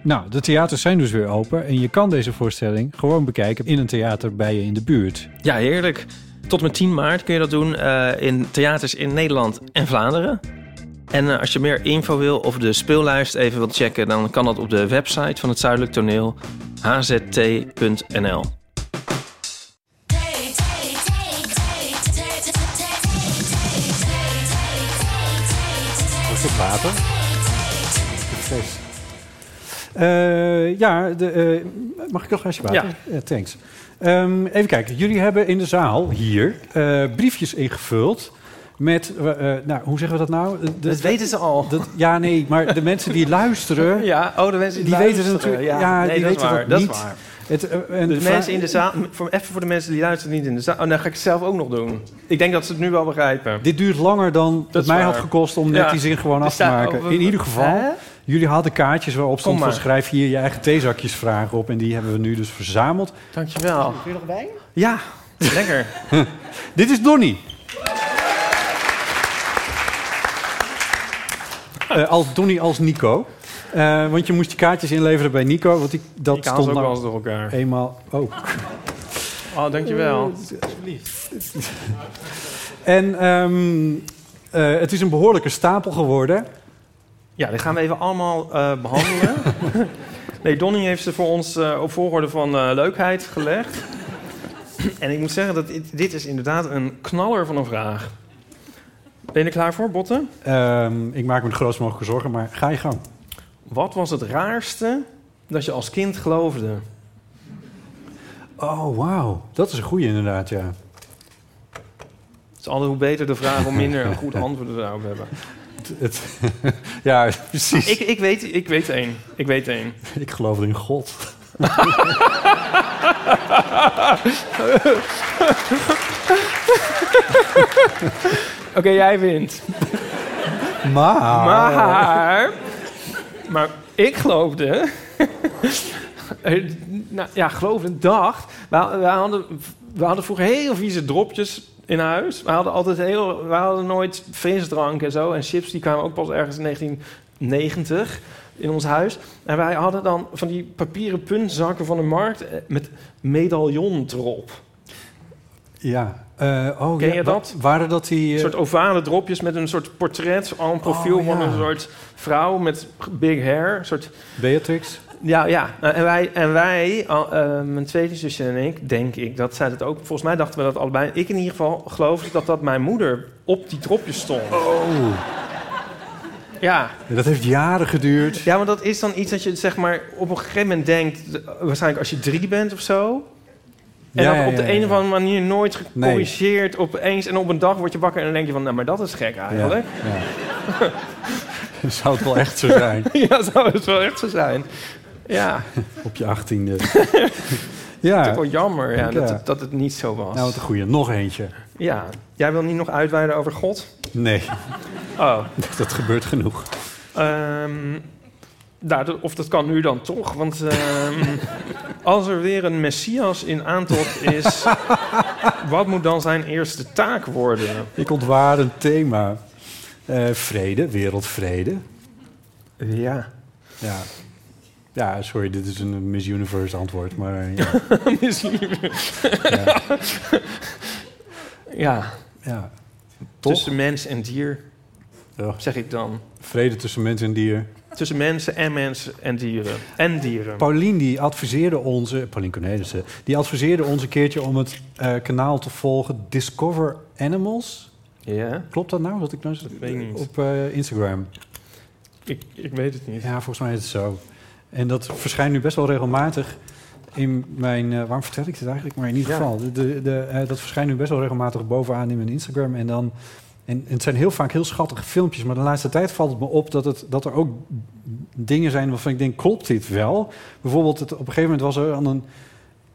J: Nou, de theaters zijn dus weer open. En je kan deze voorstelling gewoon bekijken in een theater bij je in de buurt.
C: Ja, heerlijk. Tot en met 10 maart kun je dat doen eh, in theaters in Nederland en Vlaanderen. En eh, als je meer info wil of de speellijst even wilt checken, dan kan dat op de website van het Zuidelijk Toneel hzt.nl.
J: Is het water? Eh, ja, de, eh, mag ik nog een glaasje water? Ja. thanks. Ehm, even kijken. Jullie hebben in de zaal hier eh, briefjes ingevuld met... eh, eh, nou, hoe zeggen we dat nou? De-
K: Dat weten ze al.
J: Dat, ja, nee, maar de mensen die luisteren...
C: Ja, oh, de mensen
J: die weten het
K: luisteren.
J: natuurlijk...
K: Ja,
J: Ja,
K: nee,
J: die
K: dat is
J: weten
K: waar,
J: dat
K: dat is
J: niet.
K: waar.
J: Het, eh, en
K: de
J: va-
K: mensen in de zaal, voor, even voor de mensen die luisteren niet in de zaal. Oh, dan ga ik het zelf ook nog doen. Ik denk dat ze het nu wel begrijpen.
J: Dit duurt langer dan
K: Dat
J: het
K: is
J: mij
K: waar.
J: had gekost om net
K: Ja.
J: die zin gewoon
K: Er
J: af te
K: staat-
J: maken.
K: oh, we-
J: In ieder geval,
K: Hè?
J: jullie hadden kaartjes waarop stond
K: Kom
J: van
K: maar.
J: schrijf hier je eigen theezakjesvragen op. En die hebben we nu dus verzameld.
K: Dankjewel.
N: Kun je nog bij?
J: Ja.
C: Lekker.
J: Dit is Donnie. Eh, als Donnie als Nico. Eh, want je moest die kaartjes inleveren bij Nico. Want die, dat
K: Ik haal ze
J: stond
K: ook
J: nou
K: wel eens door elkaar.
J: Eenmaal. Oh.
K: Oh, dankjewel.
J: Eh, En ehm, eh, het is een behoorlijke stapel geworden.
K: Ja, die gaan we even allemaal eh, behandelen. nee, Donnie heeft ze voor ons eh, op volgorde van eh, leukheid gelegd. en ik moet zeggen, dat dit, dit is inderdaad een knaller van een vraag. Ben je er klaar voor, Botten?
J: Ehm, ik maak me de grootst mogelijke zorgen, maar ga je gang.
K: Wat was het raarste dat je als kind geloofde?
J: Oh, wauw. Dat is een goeie inderdaad, ja.
K: Het is altijd hoe beter de vraag, hoe minder een goed antwoord we daarop hebben.
J: Het- het- ja, precies.
K: Ik, ik, weet, ik weet één. Ik weet één.
J: Ik geloof in God.
K: Oké, jij wint.
J: Maar...
K: Maar, maar ik geloofde. eh, nou, ja, geloofde, dacht. We, we, hadden, we hadden vroeger heel vieze dropjes in huis. We hadden altijd heel. We hadden nooit frisdrank en zo. En chips die kwamen ook pas ergens in 1990 in ons huis. En wij hadden dan van die papieren puntzakken van de markt eh, met medaillon erop.
J: Ja. Eh, oh,
K: Ken
J: ja,
K: je
J: wa-
K: dat?
J: Waren dat die...
K: Een
J: eh,
K: soort ovale dropjes met een soort portret, al een profiel
J: Oh, ja.
K: van een soort vrouw met big hair. Een soort...
J: eh, Beatrix?
K: Ja, ja. Eh, En wij, en wij al- eh, mijn tweede zusje en ik, denk ik, dat zij dat ook. Volgens mij dachten we dat allebei. Ik in ieder geval geloofde dat dat mijn moeder op die dropjes stond.
J: Oh.
K: Ja.
J: Ja, dat heeft jaren geduurd.
K: Ja, maar dat is dan iets dat je zeg maar op een gegeven moment denkt, eh, waarschijnlijk als je drie bent of zo. En
J: Ja,
K: dan
J: ja,
K: op de
J: ja,
K: een
J: ja.
K: of andere manier nooit
J: Nee.
K: gecorrigeerd opeens. En op een dag word je wakker en dan denk je van, nou, maar dat is gek eigenlijk.
J: Zou het wel echt zo zijn?
K: ja, zou het wel echt zo zijn. Ja,
J: Op je achttiende.
K: het is
J: ja.
K: ook wel jammer ja,
J: Ik,
K: dat,
J: ja.
K: het, dat het niet zo was.
J: Nou, wat een goeie. Nog eentje.
K: Ja, jij wil niet nog uitweiden over God?
J: Nee,
K: Oh,
J: dat gebeurt genoeg.
K: ehm, nou, dat- of dat kan nu dan toch, want ehm, als er weer een Messias in aantocht is, wat moet dan zijn eerste taak worden?
J: Ik ontwaar een thema. Eh, vrede, wereldvrede.
K: Ja.
J: Ja. Ja, sorry, dit is een Miss Universe antwoord, maar eh, ja.
K: Misschien.
J: Ja.
K: ja.
J: Ja. Toch?
K: Tussen mens en dier,
J: Ja.
K: zeg ik dan.
J: vrede tussen mens en dier.
K: Tussen mensen en mensen en dieren. En dieren.
J: Paulien die adviseerde ons, eh, Paulien Cornelissen, die adviseerde ons een keertje om het eh, kanaal te volgen Discover Animals.
K: Ja.
J: Klopt dat nou? Wat ik nou
K: Dat weet ik niet.
J: op eh, Instagram.
K: Ik, ik weet het niet.
J: Ja, volgens mij is het zo. En dat verschijnt nu best wel regelmatig in mijn... eh, waarom vertel ik dit eigenlijk? Maar in ieder
K: Ja.
J: geval, de, de, de, eh, dat verschijnt nu best wel regelmatig bovenaan in mijn Instagram. En dan... En, en het zijn heel vaak heel schattige filmpjes, maar de laatste tijd valt het me op dat, het, dat er ook dingen zijn waarvan ik denk, klopt dit wel? Bijvoorbeeld, het, op een gegeven moment was er aan een,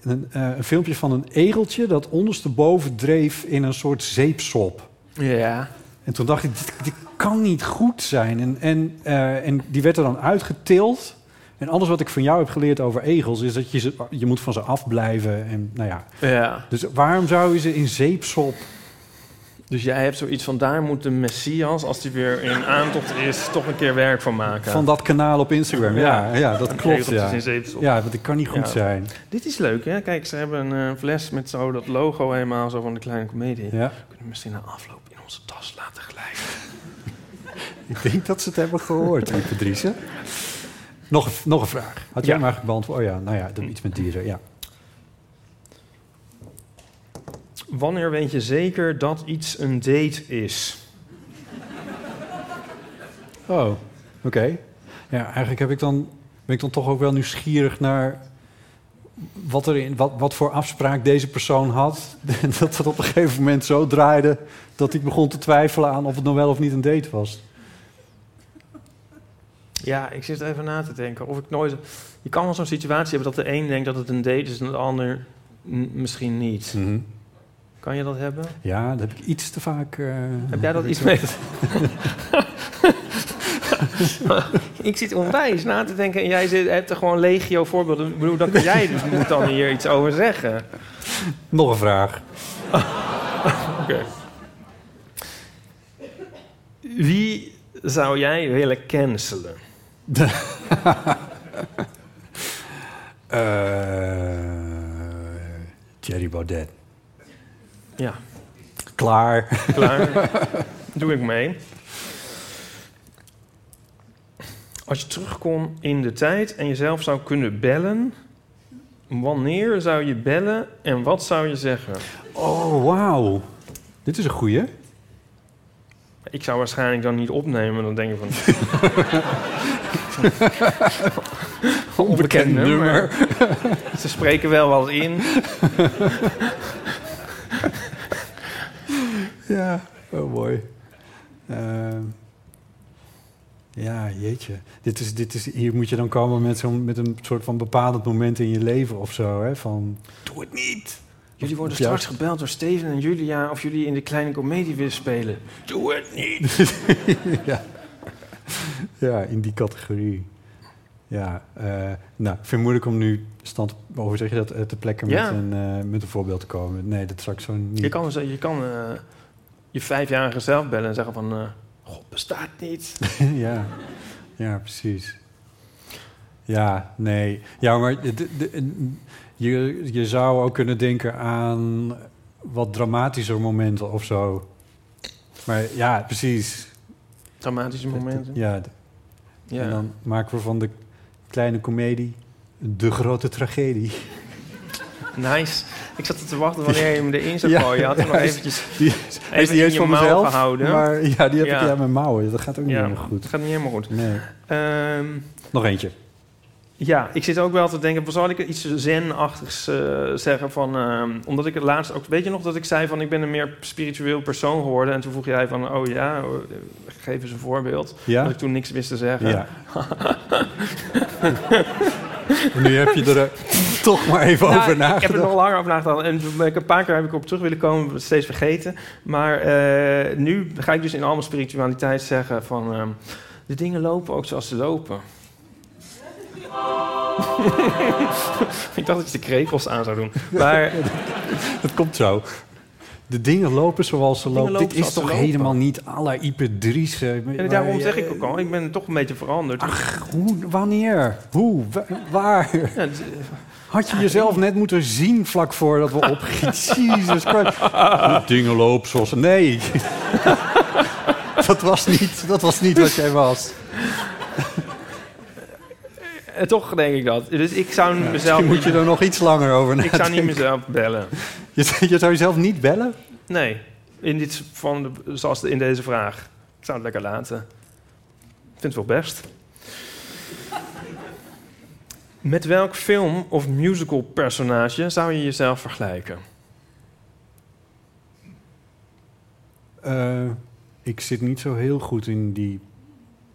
J: een, eh, een filmpje van een egeltje dat ondersteboven dreef in een soort zeepsop.
K: Ja.
J: En toen dacht ik, dit, dit kan niet goed zijn. En, en, eh, en die werd er dan uitgetild. En alles wat ik van jou heb geleerd over egels... is dat je, ze, je moet van ze afblijven. En, nou ja.
K: Ja.
J: Dus waarom zou je ze in zeepsop...
K: Dus jij hebt zoiets van, daar moet de Messias, als die weer in aantocht is, toch een keer werk van maken.
J: van dat kanaal op Instagram? Ja, ja, dat
K: Een
J: klopt.
K: egeltjes
J: Ja.
K: dus in zeepsel.
J: ja, want ik kan niet goed
K: Ja.
J: zijn.
K: Dit is leuk, hè? Kijk, ze hebben een eh, fles met zo dat logo helemaal zo van de kleine komedie.
J: Ja.
K: Kunnen we misschien na afloop in onze tas laten glijden.
J: Ik denk dat ze het hebben gehoord, lieve Driessen. Nog, een- nog een vraag. Had jij
K: Ja.
J: hem eigenlijk beantwoord? Oh ja, nou ja, dat iets met dieren. Ja.
K: Wanneer weet je zeker dat iets een date is?
J: Oh, oké. Ja, eigenlijk heb ik dan, ben ik dan toch ook wel nieuwsgierig naar wat, er in, wat, wat voor afspraak deze persoon had. En dat dat op een gegeven moment zo draaide dat ik begon te twijfelen aan of het nou wel of niet een date was.
K: Ja, ik zit even na te denken. Of ik nooit... Je kan wel zo'n situatie hebben dat de een denkt dat het een date is en de ander mm, misschien niet.
J: Mhm.
K: Kan je dat hebben?
J: Ja, dat heb ik iets te vaak. eh,
K: Heb jij dat
J: ik-
K: iets mee? ik zit onwijs na te denken en jij zit, hebt er gewoon legio voorbeelden. Ik bedoel, dan kan jij moet dan hier iets over zeggen.
J: Nog een vraag.
K: Oké. Wie zou jij willen cancelen?
J: Eh Thierry Baudet.
K: Ja.
J: Klaar.
C: Klaar. Doe ik mee. Als je terug kon in de tijd en jezelf zou kunnen bellen, wanneer zou je bellen en wat zou je zeggen?
J: Oh, wauw. Dit is een goeie.
C: Ik zou waarschijnlijk dan niet opnemen, dan denk ik van.
J: Onbekend nummer.
C: Ze spreken wel wat in.
J: Ja, oh mooi. Eh, ja, jeetje. Dit is, dit is, hier moet je dan komen met, zo'n met een soort van bepalend moment in je leven of zo. Hè? Van, doe het niet.
C: Jullie worden
J: Of juist-
C: straks gebeld door Steven en Julia of jullie in de kleine komedie willen spelen. Doe het niet!
J: ja. ja, in die categorie. Ja, eh, nou, ik vind het moeilijk om nu stand, hoe zeg je dat, eh, te plekken
C: Ja.
J: met, een, eh, met een voorbeeld te komen. Nee, dat straks zo niet.
C: Je kan, je, kan eh, je vijfjarige zelf bellen en zeggen van... eh, God bestaat niet.
J: ja. ja, precies. Ja, nee. Ja, maar de- de- de- je, je zou ook kunnen denken aan wat dramatischer momenten of zo. Maar ja, precies.
C: Dramatische momenten.
J: Ja. d-
C: Ja.
J: En dan maken we van de kleine komedie de grote tragedie.
C: Nice. Ik zat te wachten wanneer je hem erin zou
J: Ja,
C: gooien. Je had hem
J: ja,
C: nog
J: is-
C: eventjes
J: die-
C: even
J: is die
C: in
J: eens
C: je
J: van
C: mouw
J: mezelf,
C: gehouden.
J: maar ja, die heb ik
C: Ja.
J: ja in mijn mouwen. Dat gaat ook niet
C: Ja,
J: helemaal goed.
C: Het gaat niet helemaal goed.
J: Nee.
C: Ehm,
J: Nog eentje.
C: ja, ik zit ook wel te denken, zal ik iets zen-achtigs eh, zeggen van... ehm, omdat ik het laatst ook... Weet je nog dat ik zei van, ik ben een meer spiritueel persoon geworden? En toen vroeg jij van, oh ja, eh, geef eens een voorbeeld.
J: Ja.
C: Dat ik toen niks wist te zeggen.
J: Ja. En nu heb je er eh, toch maar even
C: Nou,
J: over
C: Ik heb er
J: nagedacht.
C: nog langer over nagedacht. En toen ben ik een paar keer heb ik op terug willen komen, steeds vergeten. Maar eh, nu ga ik dus in al mijn spiritualiteit zeggen van... ehm, de dingen lopen ook zoals ze lopen. ik dacht dat je de krepels aan zou doen. Maar
J: Het komt zo. De dingen lopen zoals ze lopen.
C: lopen
J: Dit is
C: zoals ze
J: toch
C: lopen.
J: helemaal niet aller Ipe Dries. eh,
C: en
J: maar-
C: daarom
J: maar-
C: zeg ik ook al, ik ben toch een beetje veranderd.
J: Hoe, wanneer? Hoe? Wa- Waar?
C: Ja, dus, het-
J: Had je jezelf net moeten zien vlak voordat we opgieten? Jesus Christ. De dingen lopen zoals... Nee. dat, was niet, dat was niet wat jij was.
C: eh, toch denk ik dat. Dus ik zou mezelf...
J: Misschien moet je
C: niet-
J: er nog iets langer over
C: Ik zou niet
J: nadenken.
C: mezelf bellen.
J: Je, je zou jezelf niet bellen?
C: Nee, in dit, van de, zoals in deze vraag. Ik zou het lekker laten. Ik vind het wel best. Met welk film of musical personage zou je jezelf vergelijken?
J: Eh, ik zit niet zo heel goed in die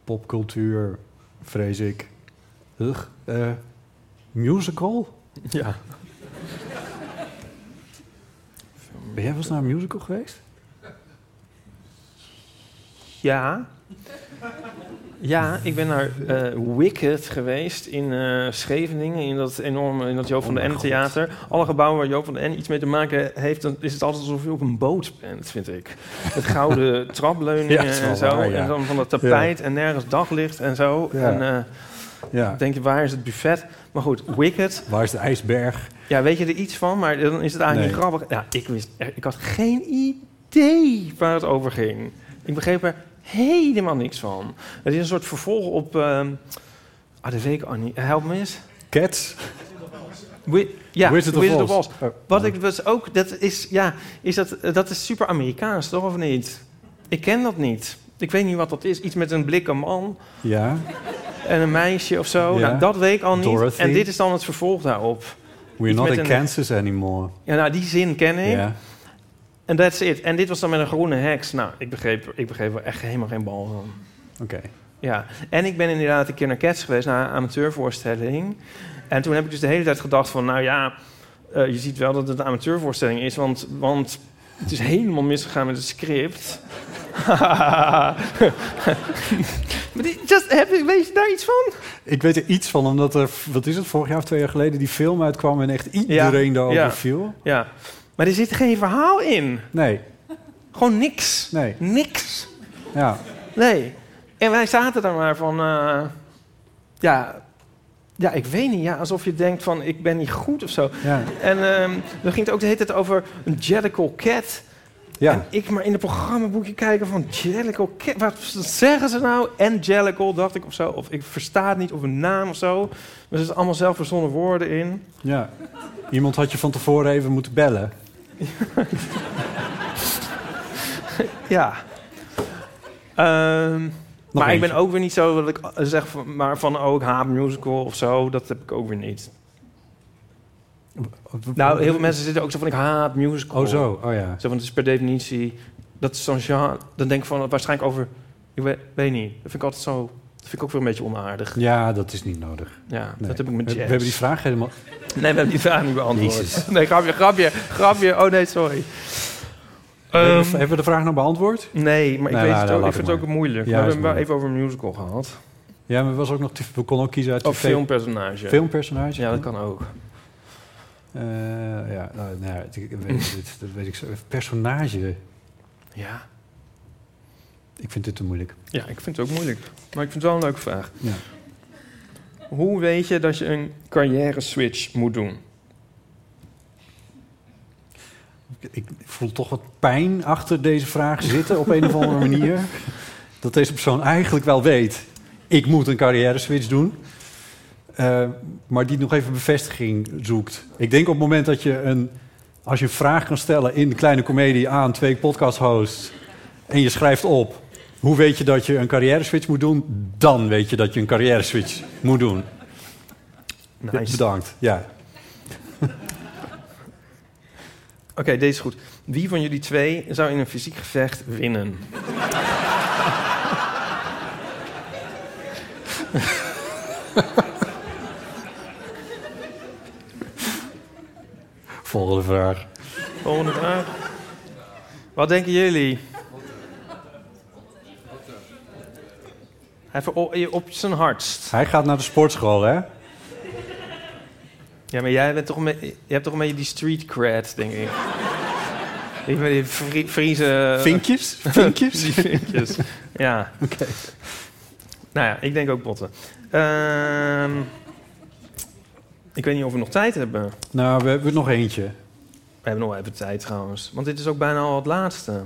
J: popcultuur, vrees ik. Ugh. Eh, musical?
C: Ja.
J: Ben jij wel eens naar een musical geweest?
C: Ja. Ja, ik ben naar eh, Wicked geweest in eh, Scheveningen, in dat enorme, in dat Joop van
J: Oh mijn
C: den N
J: God.
C: theater. Alle gebouwen waar Joop van den N iets mee te maken heeft, dan is het altijd alsof je op een boot bent, vind ik. Met gouden trapleuningen
J: Ja, dat is wel
C: en zo,
J: waar, ja.
C: en dan van dat tapijt en nergens daglicht en zo.
J: Ja.
C: En eh,
J: Ja.
C: dan denk je, waar is het buffet? Maar goed, Wicked.
J: Waar is de ijsberg?
C: Ja, weet je er iets van, maar dan is het eigenlijk
J: Nee.
C: niet grappig. Ja, ik wist, ik had geen idee waar het over ging. Ik begreep er helemaal niks van. Het is een soort vervolg op. ehm ah, de week, Annie. Help me eens.
J: Cats?
C: Wi- ja,
J: Wizard of Oz. Oh.
C: Oz. Wat ik was ook, dat is, ja, is dat, eh, dat is super Amerikaans, toch of niet? Ik ken dat niet. Ik weet niet wat dat is. Iets met een blikken man
J: Ja.
C: en een meisje of zo.
J: Ja.
C: Nou, dat weet ik al niet.
J: Dorothy.
C: En dit is dan het vervolg daarop.
J: We're
C: Iets
J: not
C: met
J: in
C: een-
J: Kansas anymore.
C: Ja, nou, die zin ken ik.
J: Ja.
C: En that's it. En dit was dan met een groene heks. Nou, ik begreep, ik begreep er echt helemaal geen bal van.
J: Oké.
C: Ja, en ik ben inderdaad een keer naar Cats geweest, naar een amateurvoorstelling. En toen heb ik dus de hele tijd gedacht van, nou ja, eh, je ziet wel dat het een amateurvoorstelling is, want, want het is helemaal misgegaan met het script. maar dit, just, heb, je- weet je daar iets van?
J: Ik weet er iets van, omdat er, wat is het, vorig jaar of twee jaar geleden die film uitkwam en echt iedereen daarover
C: ja.
J: viel.
C: Ja, maar er zit geen verhaal in.
J: Nee.
C: Gewoon niks.
J: Nee.
C: Niks.
J: Ja.
C: Nee. En wij zaten daar maar van... eh, ja, ja, ik weet niet. Ja, alsof je denkt van, ik ben niet goed of zo.
J: Ja.
C: En ehm, dan ging het ook de hele tijd over een Jellicle Cat...
J: Ja.
C: En ik maar in het programmaboekje kijken van Jellicle. Ki- Wat zeggen ze nou? En Jellicle, dacht ik of zo. Of ik versta het niet, of een naam of zo. Maar er zitten allemaal zelf verzonnen woorden in.
J: Ja. Iemand had je van tevoren even moeten bellen.
C: Ja. Ehm,
J: Nog
C: maar ik ben
J: eentje.
C: ook weer niet zo dat ik eh, zeg van, maar van ook haat musical of zo. Dat heb ik ook weer niet. Nou, heel veel mensen zitten ook zo van ik haat musical.
J: Oh, zo. Oh, ja.
C: Zo van het is per definitie dat is zo'n genre. Dan denk ik van waarschijnlijk over. Ik weet, weet niet. Dat vind ik altijd zo. Dat vind ik ook weer een beetje onaardig.
J: Ja, dat is niet nodig.
C: Ja,
J: Nee.
C: dat heb ik met
J: We-
C: jazz.
J: we hebben die vraag helemaal-
C: Nee, we hebben die vraag niet beantwoord.
J: Jezus.
C: Nee, grapje, grapje, grapje. Oh nee, sorry.
J: Hebben
C: Ehm,
J: we- hebben we de vraag nou beantwoord?
C: Nee, maar ik,
J: Nou,
C: weet
J: nou,
C: het
J: nou,
C: ook,
J: laat
C: ik vind
J: maar.
C: het ook moeilijk.
J: Ja,
C: we
J: is
C: hebben het wel
J: moeilijk.
C: even over een musical gehad.
J: Ja, maar we, was ook nog, te- we konden ook kiezen uit
C: Of
J: tv.
C: filmpersonage.
J: Filmpersonage.
C: Oh, Ja, dat kan ook.
J: Eh, ja, nou, nou ja, het- ik weet, dit, dat weet ik zo. Personage.
C: Ja.
J: Ik vind dit te moeilijk.
C: Ja, ik vind het ook moeilijk. Maar ik vind het wel een leuke vraag.
J: Ja.
C: Hoe weet je dat je een carrière switch moet doen?
J: Ik voel toch wat pijn achter deze vraag zitten op een of andere manier. Dat deze persoon eigenlijk wel weet, ik moet een carrière switch doen. Eh, maar die nog even bevestiging zoekt. Ik denk op het moment dat je een... Als je een vraag kan stellen in de kleine komedie aan twee podcast-hosts... en je schrijft op, hoe weet je dat je een carrière switch moet doen? Dan weet je dat je een carrière switch moet doen.
C: Nice.
J: Bedankt, ja.
C: Oké, deze is goed. Wie van jullie twee zou in een fysiek gevecht winnen?
J: Volgende vraag.
C: Volgende vraag. Wat denken jullie? Hij vero- eh, op zijn hardst.
J: Hij gaat naar de sportschool, hè?
C: Ja, maar jij bent toch een beetje, je hebt toch een beetje die street cred, denk ik. Ik ben die Fri- Friese...
J: Vinkjes? Vinkjes?
C: Eh, die vinkjes, ja. Oké. Nou ja, ik denk ook botten. Ehm, ik weet niet of we nog tijd hebben. We
J: Nou, we hebben nog eentje.
C: hebben nog even tijd trouwens. Want dit is ook bijna al het laatste.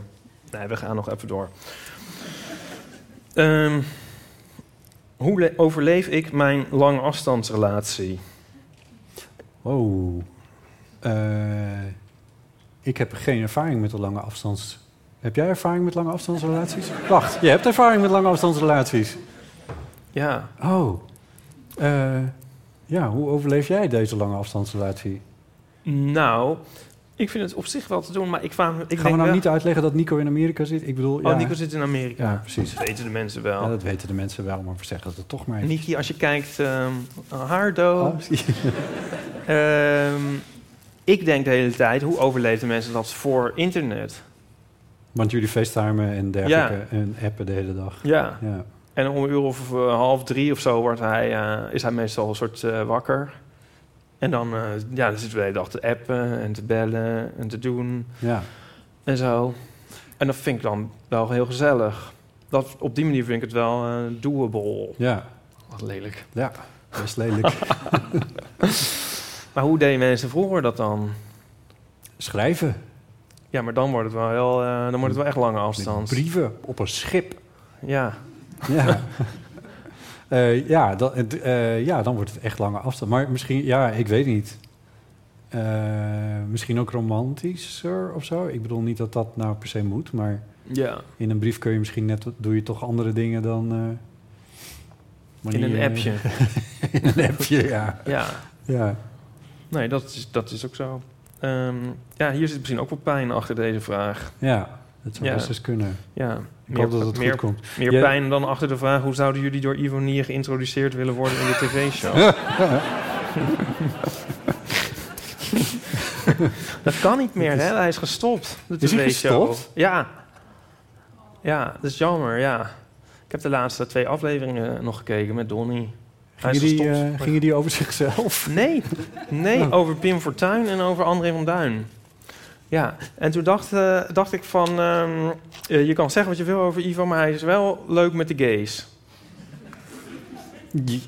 C: Nee, we gaan nog even door. Ehm, hoe le- overleef ik mijn lange afstandsrelatie?
J: Oh. Eh, ik heb geen ervaring met de lange afstands... Heb jij ervaring met lange afstandsrelaties? Wacht, je hebt ervaring met lange afstandsrelaties.
C: Ja.
J: Oh. Eh, ja, hoe overleef jij deze lange afstandsrelatie?
C: Nou, ik vind het op zich wel te doen, maar ik kwam. Ik
J: Gaan
C: denk
J: we nou
C: wel-
J: niet uitleggen dat Nico in Amerika zit? Ik bedoel,
C: Oh,
J: ja.
C: Nico zit in Amerika.
J: Ja, precies.
C: Dat weten de mensen wel.
J: Ja, dat weten de mensen wel, maar we zeggen het toch maar even.
C: Niki, als je kijkt, ehm
J: Oh.
C: haardood. Ehm, ik denk de hele tijd, hoe overleefden mensen dat voor internet?
J: Want jullie facetimen en dergelijke
C: Ja.
J: en appen de hele dag.
C: Ja.
J: ja.
C: En om een uur of eh, half drie of zo wordt hij, eh, is hij meestal een soort eh, wakker. En dan, eh, ja, dan zitten we de hele dag te appen en te bellen en te doen.
J: Ja.
C: En zo. En dat vind ik dan wel heel gezellig. Dat, op die manier vind ik het wel eh, doable.
J: Ja.
C: Wat lelijk.
J: Ja, best lelijk.
C: maar hoe deden mensen vroeger dat dan?
J: Schrijven.
C: Ja, maar dan wordt het wel, heel, eh, dan wordt het wel echt lange afstand.
J: Brieven op een schip.
C: Ja.
J: Ja. Eh, ja, dan, eh, ja, dan wordt het echt lange afstand. Maar misschien, ja, ik weet niet. Eh, misschien ook romantischer of zo. Ik bedoel niet dat dat nou per se moet, maar
C: Ja.
J: in een brief kun je misschien net, doe je toch andere dingen dan. eh,
C: In een
J: manier-
C: appje.
J: in een appje, ja.
C: Ja.
J: ja.
C: Nee, dat is, dat is ook zo. Ehm, ja, hier zit misschien ook wel pijn achter deze vraag.
J: Ja, dat zou
C: Ja.
J: best eens kunnen.
C: Ja.
J: Ik hoop dat het
C: meer,
J: goed komt.
C: Meer
J: Jij-
C: pijn dan achter de vraag... hoe zouden jullie door Ivonie geïntroduceerd willen worden in de tv-show? dat kan niet meer, hè? Hij is gestopt, de
J: Is hij
C: tv-show.
J: gestopt?
C: Ja. Ja, dat is jammer, ja. Ik heb de laatste twee afleveringen nog gekeken met Donnie. Hij is
J: Gingen die,
C: gestopt.
J: eh, gingen die over zichzelf?
C: Nee, nee
J: Oh.
C: over Pim Fortuyn en over André van Duin. Ja, en toen dacht, eh, dacht ik van... ehm, eh, je kan zeggen wat je wil over Ivo, maar hij is wel leuk met de gays.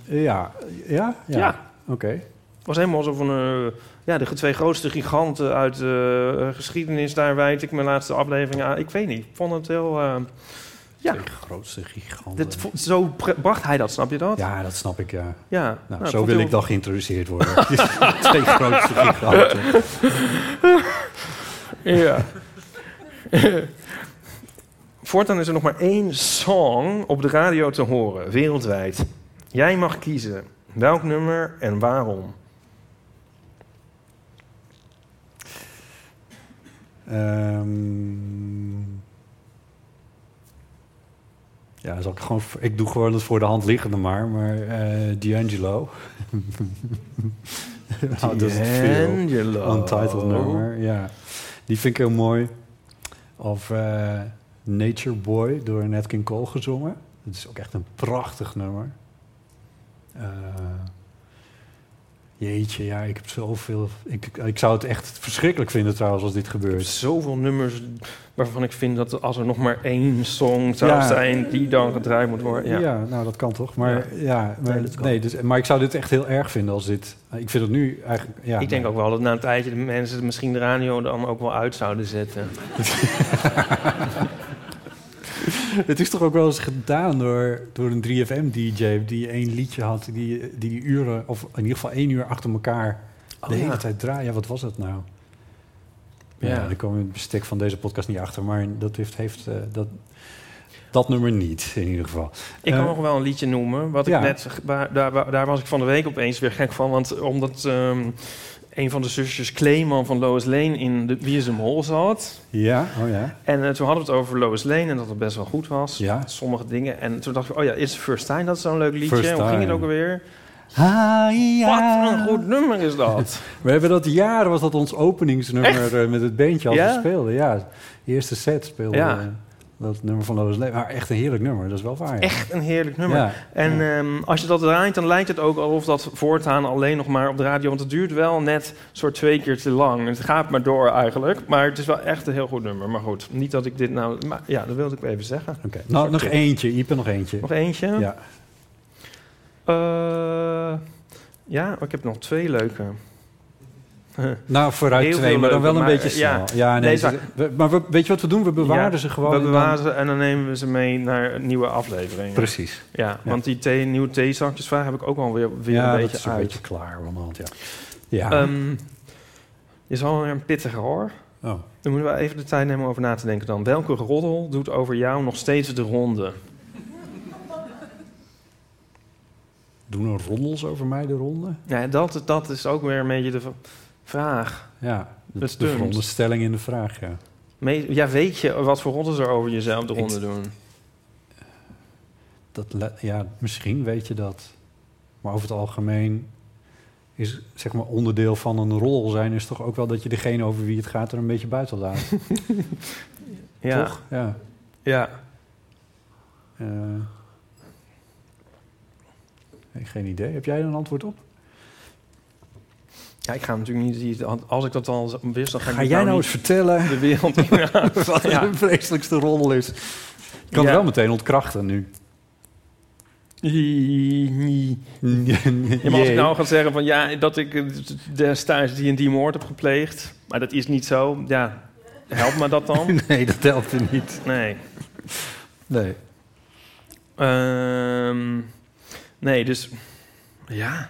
J: Ja, ja, ja.
C: Ja.
J: Oké.
C: was helemaal zo van... eh, ja, de twee grootste giganten uit de eh, geschiedenis... daar wijd ik mijn laatste aflevering aan. Ik weet niet, ik vond het heel... eh, ja,
J: De grootste gigant.
C: dit, vo- zo pre- bracht hij dat, snap je dat?
J: Ja, dat snap ik, ja.
C: Ja.
J: Nou,
C: Nou,
J: zo
C: vond
J: wil
C: heel-
J: ik dan geïntroduceerd worden. Twee grootste giganten.
C: ja. Voortaan is er nog maar één song op de radio te horen, wereldwijd. Jij mag kiezen welk nummer en waarom.
J: Ehm, ja, zal ik, gewoon, ik doe gewoon het voor de hand liggende maar. Maar eh D'Angelo. Nou, dat is te veel.
C: D'Angelo.
J: Untitled nummer, ja. Die vind ik heel mooi. Of eh, Nature Boy door Nat King Cole gezongen. Dat is ook echt een prachtig nummer. Eh, jeetje, ja, ik heb zoveel... Ik, ik zou het echt verschrikkelijk vinden trouwens als dit gebeurt.
C: Zoveel nummers waarvan ik vind dat als er nog maar één song zou
J: Ja.
C: zijn die dan gedraaid moet worden.
J: Ja.
C: Ja.
J: nou dat kan toch. Maar, ja.
C: Ja.
J: maar,
C: Nee,
J: nee,
C: dat kan.
J: dus, maar ik zou dit echt heel erg vinden als dit... Ik vind het nu eigenlijk... Ja,
C: ik denk ook wel dat na een tijdje de mensen misschien de radio dan ook wel uit zouden zetten.
J: Het is toch ook wel eens gedaan door, door een 3FM-dj die één liedje had, die, die die uren, of in ieder geval één uur achter elkaar de
C: Oh, ja.
J: hele tijd draaien. Ja, wat was dat nou? Ja,
C: Ja.
J: daar komen we in het bestek van deze podcast niet achter, maar dat heeft, heeft eh, dat, dat nummer niet in ieder geval.
C: Ik kan
J: Eh,
C: nog wel een liedje noemen. Wat
J: ja.
C: ik net, waar- daar, waar- daar was ik van de week opeens weer gek van. Want omdat ehm, een van de zusjes Kleeman van Lois Lane in de Wie is hem Hol zat.
J: Ja, oh ja.
C: En eh, toen hadden we het over Lois Lane en dat het best wel goed was.
J: Ja.
C: Sommige dingen. En toen dacht ik, oh ja, is First Time dat zo'n leuk liedje?
J: First
C: Hoe ging het
J: Time.
C: ook alweer?
J: Wat
C: een goed nummer is dat.
J: We hebben dat jaren, was dat ons
C: Echt?
J: openingsnummer eh, met het bandje als
C: Ja?
J: we speelden. Ja, de eerste set speelde
C: Ja.
J: eh, dat nummer van Lois Lee. Maar echt een heerlijk nummer, dat is wel waar. ja.
C: Echt een heerlijk nummer.
J: Ja.
C: En ehm, als je dat draait, dan lijkt het ook alsof dat voortaan alleen nog maar op de radio... want het duurt wel net soort twee keer te lang. Het gaat maar door eigenlijk. Maar het is wel echt een heel goed nummer. Maar goed, niet dat ik dit nou... Maar ja, dat wilde ik even zeggen. Oké.
J: Nou, nog eentje, Ipe, nog eentje.
C: Nog eentje?
J: Ja.
C: Eh, ja, ik heb nog twee leuke.
J: Nou, vooruit
C: Heel
J: twee,
C: veel
J: maar dan wel een
C: leuke,
J: beetje
C: maar,
J: snel.
C: ja.
J: Ja, nee,
C: Nee,
J: het is-
C: maar-
J: we- maar we- weet je wat we doen? We bewaren
C: Ja,
J: ze gewoon.
C: We
J: en dan-
C: bewaren ze en dan nemen we ze mee naar een nieuwe aflevering.
J: Precies.
C: Ja,
J: Ja.
C: want die thee, nieuwe theezakjesvraag heb ik ook alweer weer
J: ja,
C: een
J: dat
C: beetje
J: is een
C: uit.
J: beetje klaar onderhand, ja. Ja,
C: Ehm, is wel weer een pittige hoor.
J: Oh.
C: Dan moeten we even de tijd nemen om over na te denken dan. Welke roddel doet over jou nog steeds de ronde?
J: doen er roddels over mij de ronde?
C: Ja, dat, dat is ook weer een beetje de v- vraag.
J: Ja, de,
C: Het
J: de
C: stunt.
J: veronderstelling in de vraag, ja.
C: Me- ja, weet je wat voor roddels er over jezelf de ronde
J: Ik-
C: doen?
J: Dat, le- ja, misschien weet je dat. Maar over het algemeen is zeg maar onderdeel van een rol zijn... is toch ook wel dat je degene over wie het gaat er een beetje buiten laat.
C: Ja.
J: Toch? Ja.
C: Ja.
J: Eh, nee, geen idee. Heb jij er een antwoord op?
C: Ja, ik ga natuurlijk niet... die- Als ik dat al wist, dan ga,
J: Ga
C: ik
J: jij
C: het
J: nou
C: niet
J: eens vertellen
C: de wereld in.
J: wat
C: Ja.
J: de vreselijkste roddel is? Ik kan
C: Ja.
J: het wel meteen ontkrachten nu.
C: Ja, maar als ik nou ga zeggen van ja, dat ik eh, destijds die en die moord heb gepleegd, maar dat is niet zo, ja, helpt me dat dan?
J: Nee, dat helpt er niet.
C: Nee.
J: Nee.
C: Ehm, nee, dus ja.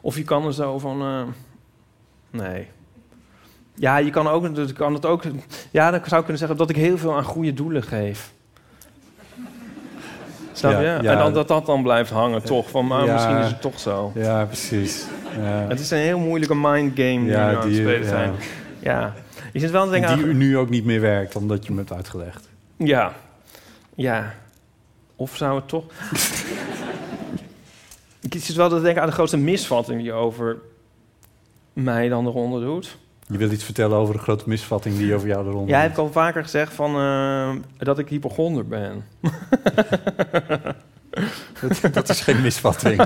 C: Of je kan er zo van. eh, nee. Ja, je kan, ook, dat kan het ook. Ja, dan zou ik kunnen zeggen dat ik heel veel aan goede doelen geef. Snap
J: Ja,
C: je?
J: ja.
C: en dan, dat dat dan blijft hangen, toch? Van, maar
J: Ja.
C: misschien is het toch zo.
J: Ja, precies. Ja.
C: Het is een heel moeilijke mind game die
J: Ja,
C: we nu aan het
J: die,
C: spelen
J: ja.
C: zijn. Ja. Je zit wel te denken aan...
J: Die u nu ook niet meer werkt, omdat je me hebt uitgelegd.
C: Ja. Ja. Of zou het toch... ik zit wel te denken aan de grootste misvatting die je over mij dan eronder doet.
J: Je wilt iets vertellen over een grote misvatting die over jou eronder
C: Jij hebt al vaker gezegd van, eh, dat ik hypochonder ben.
J: dat, dat is geen misvatting.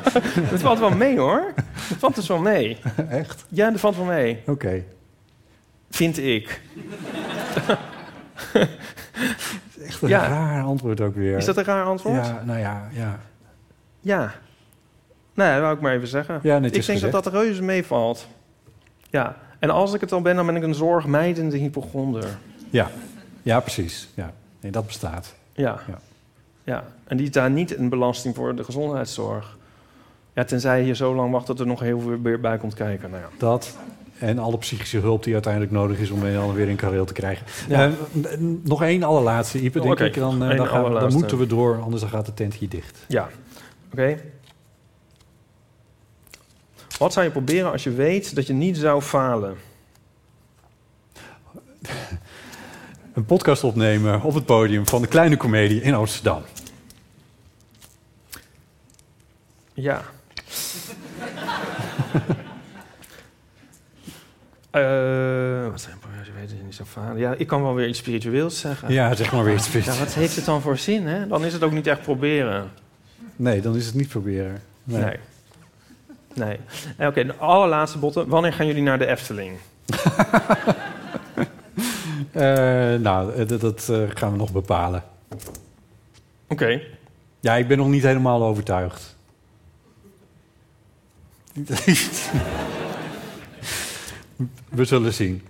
C: dat valt wel mee hoor. Dat valt dus wel mee.
J: Echt?
C: Ja, dat valt wel mee.
J: Oké.
C: Vind ik.
J: Echt een
C: Ja.
J: raar antwoord ook weer. nou
C: Is dat een raar antwoord?
J: Ja, nou ja, ja.
C: Ja. Nee, dat wou ik maar even zeggen.
J: Ja,
C: ik
J: netjes
C: denk dat
J: gezegd.
C: dat reuze meevalt. Ja. En als ik het al ben, dan ben ik een zorgmijdende hypochonder.
J: Ja, ja precies. Ja. Nee, dat bestaat.
C: Ja. ja. En die is daar niet een belasting voor de gezondheidszorg. Ja, tenzij je zo lang wacht dat er nog heel veel weer bij komt kijken. Nou ja.
J: Dat en alle psychische hulp die uiteindelijk nodig is om een en ander weer in kareel te krijgen.
C: Ja.
J: Eh, n- n- nog één allerlaatste, Ipe, denk
C: Oké,
J: ik. Dan, eh,
C: één
J: dan, gaan we- dan
C: allerlaatste.
J: moeten we door, anders dan gaat de tent hier dicht.
C: Ja, oké. Wat zou je proberen als je weet dat je niet zou falen?
J: Een podcast opnemen op het podium van de Kleine Comedie in Amsterdam.
C: Ja. Eh, wat zijn problemen? Je weet dat je niet zou falen. Ja, ik kan wel weer iets spiritueels zeggen.
J: Ja, zeg maar weer iets spiritueels.
C: Ja, wat heeft het dan voor zin, hè? Dan is het ook niet echt proberen.
J: Nee, dan is het niet proberen.
C: Nee. Nee. En Eh, Oké, de allerlaatste botten. Wanneer gaan jullie naar de Efteling?
J: Eh, nou, eh, dat, dat, eh, gaan we nog bepalen.
C: Oké.
J: Ja, ik ben nog niet helemaal overtuigd. we zullen zien.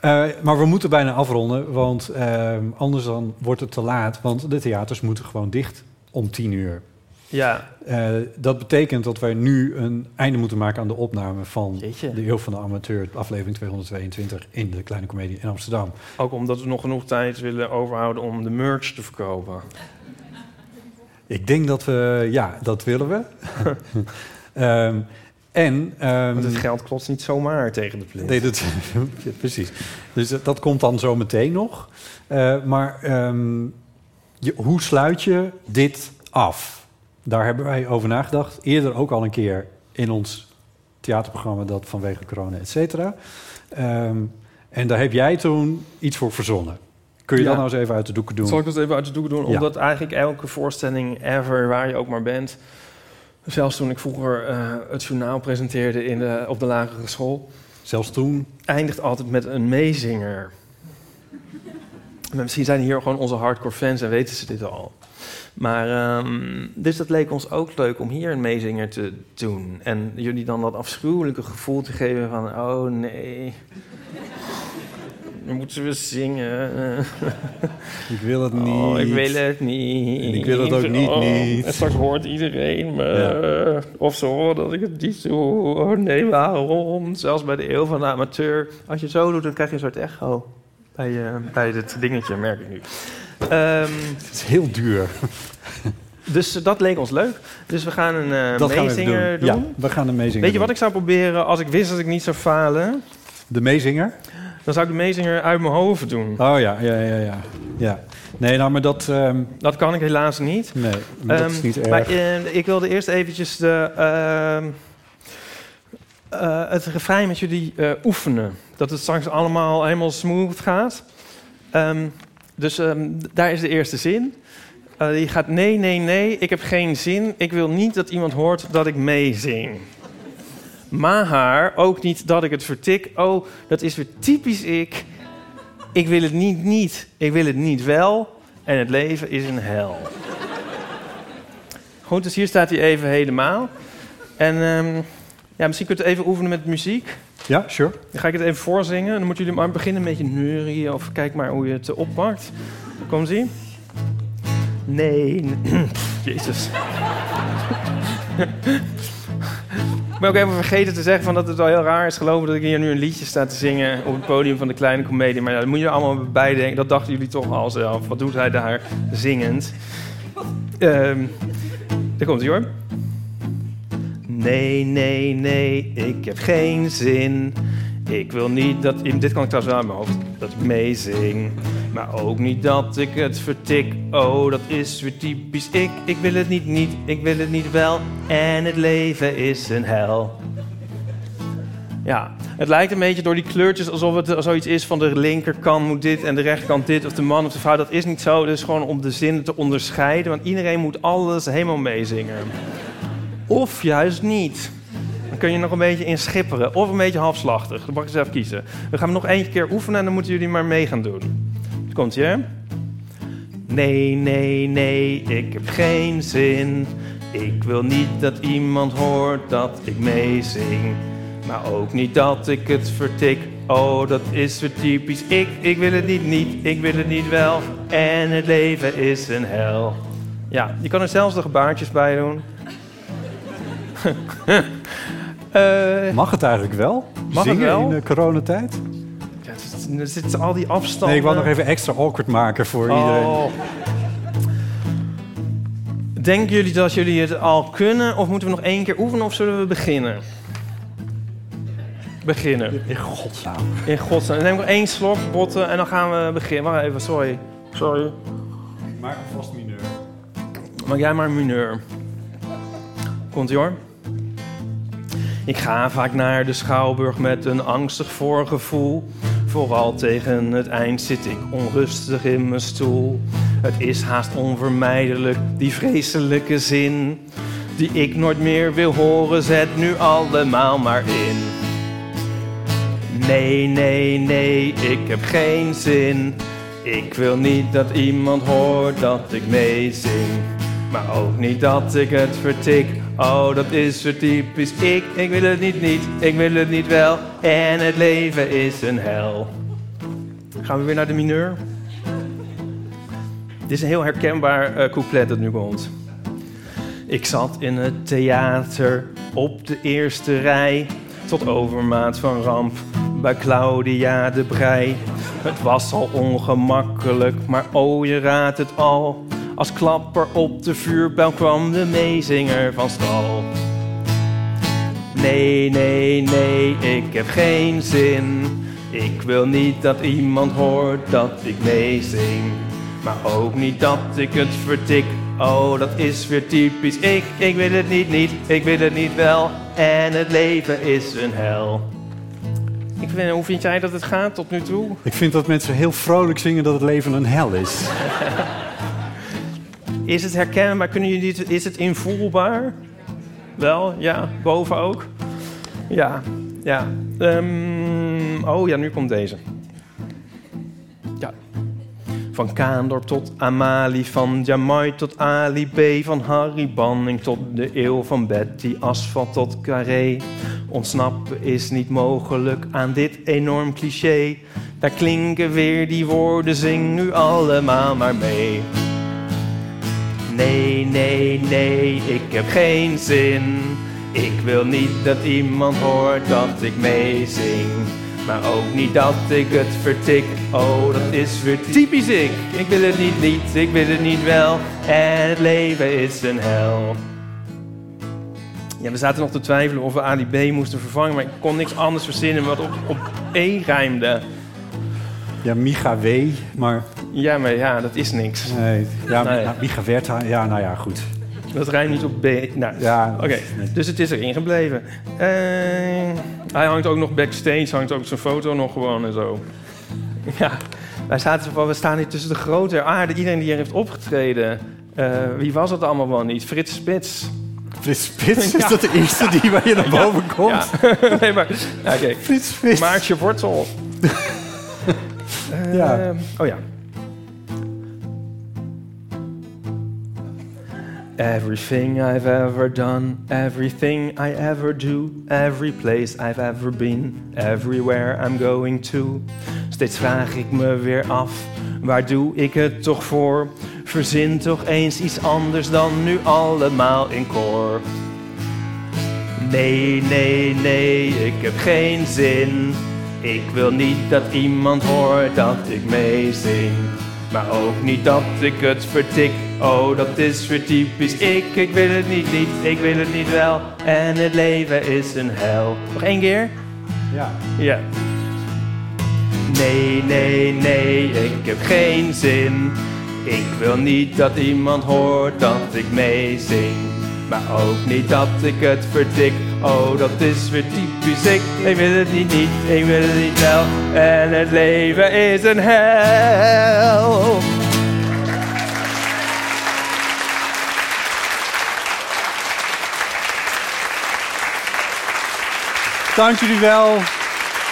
J: Eh, maar we moeten bijna afronden, want eh, anders dan wordt het te laat. Want de theaters moeten gewoon dicht om tien uur.
C: Ja.
J: Eh, dat betekent dat wij nu een einde moeten maken aan de opname van De Eeuw van de Amateur, aflevering 222 in de Kleine Comedie in Amsterdam.
C: Ook omdat we nog genoeg tijd willen overhouden om de merch te verkopen.
J: Ik denk dat we, ja, dat willen we. Ehm, en. ehm,
C: Want het geld klotst niet zomaar tegen de plint.
J: Nee, dat, ja, precies. Dus dat, dat komt dan zo meteen nog. Eh, maar ehm, je, hoe sluit je dit af? Daar hebben wij over nagedacht. Eerder ook al een keer in ons theaterprogramma, dat vanwege corona, et cetera. Ehm, en daar heb jij toen iets voor verzonnen. Kun je
C: Ja.
J: dat nou eens even uit de doeken doen?
C: Zal ik dat even uit de doek doen?
J: Ja.
C: Omdat eigenlijk elke voorstelling ever, waar je ook maar bent... Zelfs toen ik vroeger eh, het journaal presenteerde in de, op de lagere school...
J: Zelfs toen?
C: Eindigt altijd met een meezinger. Maar misschien zijn hier gewoon onze hardcore fans en weten ze dit al. Maar, ehm, dus dat leek ons ook leuk om hier een meezinger te doen. En jullie dan dat afschuwelijke gevoel te geven van... Oh nee, dan moeten we zingen.
J: Ik wil het niet.
C: Oh, ik wil het niet.
J: En ik wil het ook niet,
C: Oh,
J: niet.
C: en Straks hoort iedereen me. Of ze horen dat ik het niet doe. Oh nee, waarom? Zelfs bij de eeuw van de amateur. Als je zo doet, dan krijg je een soort echo. Bij, eh, bij dit dingetje, merk ik nu. het
J: is heel duur.
C: Dus eh, dat leek ons leuk. Dus we gaan een eh
J: dat gaan we even
C: meezinger
J: doen. Ja, we gaan een meezinger
C: Weet je
J: doen.
C: wat ik zou proberen als ik wist dat ik niet zou falen?
J: De meezinger?
C: Dan zou ik de meezinger uit mijn hoofd doen.
J: Oh ja, ja, ja, ja. ja. Nee, nou, maar dat... ehm,
C: Dat kan ik helaas niet.
J: Nee, maar dat
C: Ehm,
J: is niet erg.
C: Maar eh, ik wilde eerst eventjes de, ehm, eh, het refrein met jullie eh, oefenen. Dat het straks allemaal helemaal smooth gaat. Ehm, dus ehm, d- daar is de eerste zin. Eh, die gaat nee, nee, nee, ik heb geen zin. Ik wil niet dat iemand hoort dat ik meezing. Maar haar, ook niet dat ik het vertik. Oh, dat is weer typisch ik. Ik wil het niet niet, ik wil het niet wel. En het leven is een hel. Goed, dus hier staat hij even helemaal. En ehm, ja, misschien kunt u even oefenen met muziek.
J: Ja, sure.
C: Dan ga ik het even voorzingen. Dan moeten jullie maar beginnen met je neurieën of kijk maar hoe je het eh, oppakt. Kom zie. Nee. nee. Jezus. ik ben ook even vergeten te zeggen van dat het wel heel raar is gelopen dat ik hier nu een liedje sta te zingen op het podium van de kleine comedie. Maar ja, dat moet je er allemaal bij denken. Dat dachten jullie toch al zelf. Wat doet hij daar zingend? Ehm daar komt hij hoor. Nee, nee, nee, ik heb geen zin. Ik wil niet dat... Dit kan ik trouwens wel uit mijn hoofd. Dat ik meezing. Maar ook niet dat ik het vertik. Oh, dat is weer typisch ik. Ik wil het niet niet, ik wil het niet wel. En het leven is een hel. Ja, het lijkt een beetje door die kleurtjes alsof het eh, zoiets is van de linkerkant moet dit en de rechterkant dit of de man of de vrouw. Dat is niet zo. Dus gewoon om de zinnen te onderscheiden, want iedereen moet alles helemaal meezingen. Of juist niet. Dan kun je nog een beetje in schipperen of een beetje halfslachtig. Dan mag je zelf kiezen. We gaan nog eentje keer oefenen en dan moeten jullie maar mee gaan doen. Komt ie, hè? Nee, nee, nee, ik heb geen zin. Ik wil niet dat iemand hoort dat ik meezing. Maar ook niet dat ik het vertik. Oh, dat is weer typisch. Ik, ik wil het niet, niet. Ik wil het niet wel. En het leven is een hel. Ja, je kan er zelfs de gebaartjes bij doen. Eh,
J: Mag het eigenlijk wel?
C: Mag het
J: Zingen
C: wel?
J: in de coronatijd?
C: ja, er zit- er zitten al die afstanden.
J: Nee, ik wou nog even extra awkward maken voor
C: Oh.
J: iedereen.
C: Denken jullie dat jullie het al kunnen? Of moeten we nog één keer oefenen? Of zullen we beginnen? Beginnen. In godsnaam. In godsnaam. Dan neem ik nog één slok, botten, en dan gaan we beginnen. Wacht even, sorry. Sorry.
J: Maak een vast mineur.
C: Maak jij maar een mineur. Komt ie hoor. Ik ga vaak naar de schouwburg met een angstig voorgevoel. Vooral tegen het eind zit ik onrustig in mijn stoel. Het is haast onvermijdelijk, die vreselijke zin. Die ik nooit meer wil horen, zet nu allemaal maar in. Nee, nee, nee, ik heb geen zin. Ik wil niet dat iemand hoort dat ik meezing. Maar ook niet dat ik het vertik. Oh, dat is zo typisch. Ik, ik wil het niet, niet. Ik wil het niet wel. En het leven is een hel. Gaan we weer naar de mineur? Dit is een heel herkenbaar eh, couplet dat nu komt. Ik zat in het theater op de eerste rij. Tot overmaat van ramp bij Claudia de Brij. Het was al ongemakkelijk, maar oh je raadt het al. Als klapper op de vuurbel kwam de meezinger van stal. Nee, nee, nee, ik heb geen zin. Ik wil niet dat iemand hoort dat ik meezing. Maar ook niet dat ik het vertik. Oh, dat is weer typisch. Ik, ik wil het niet, niet. Ik wil het niet wel. En het leven is een hel. Ik vind, hoe vind jij dat het gaat tot nu toe?
J: Ik vind dat mensen heel vrolijk zingen dat het leven een hel is.
C: Is het herkenbaar? Kunnen jullie het, is het invoelbaar? Wel, ja. Boven ook? Ja, ja. Ehm, oh ja, nu komt deze. Ja. Van Kaandorp tot Amali, van Jamai tot Ali B. Van Harry Banning tot de eeuw van Betty, asfalt tot carré. Ontsnappen is niet mogelijk aan dit enorm cliché. Daar klinken weer die woorden, zing nu allemaal maar mee. Nee, nee, nee, ik heb geen zin. Ik wil niet dat iemand hoort dat ik meezing. Maar ook niet dat ik het vertik. Oh, dat is weer typisch ik. Ik wil het niet niet, ik wil het niet wel. En het leven is een hel. Ja, we zaten nog te twijfelen of we Ali B moesten vervangen. Maar ik kon niks anders verzinnen wat op, op E rijmde.
J: Ja, Micha W, maar...
C: Ja, maar ja, dat is niks.
J: Nee, ja,
C: Nee.
J: nou, Micha Wertha, ja, nou ja, goed.
C: Dat rijmt niet op B. Nou,
J: Ja,
C: Oké, dus het is erin gebleven. Eh, hij hangt ook nog backstage, hangt ook zijn foto nog gewoon en zo. Ja, wij zaten van, we staan hier tussen de grote der aarde. Iedereen die hier heeft opgetreden. Eh, wie was dat allemaal wel niet? Frits Spits.
J: Frits Spits? Is dat de eerste die bij je naar boven komt?
C: Ja. nee, maar... ja, oké.
J: Frits Spits.
C: Maartje Wortel.
J: Ja.
C: Eh, Oh ja. Everything I've ever done, everything I ever do, every place I've ever been, everywhere I'm going to. Steeds vraag ik me weer af, waar doe ik het toch voor? Verzin toch eens iets anders dan nu allemaal in koor. Nee, nee, nee, ik heb geen zin. Ik wil niet dat iemand hoort dat ik meezing. Maar ook niet dat ik het vertik. Oh, dat is weer typisch ik. Ik wil het niet, niet. Ik wil het niet wel. En het leven is een hel. Nog één keer?
J: Ja.
C: Ja. Nee, nee, nee, ik heb geen zin. Ik wil niet dat iemand hoort dat ik meezing. Maar ook niet dat ik het vertik. Oh, dat is weer typisch ik. Ik wil het niet, niet, ik wil het niet wel. En het leven is een hel.
J: Dank jullie wel.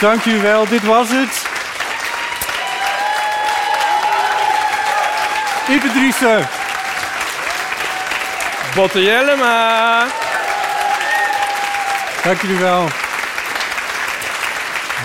J: Dank jullie wel. Dit was het. Ipe Driessen.
C: Botte Jellema.
J: Dank jullie wel.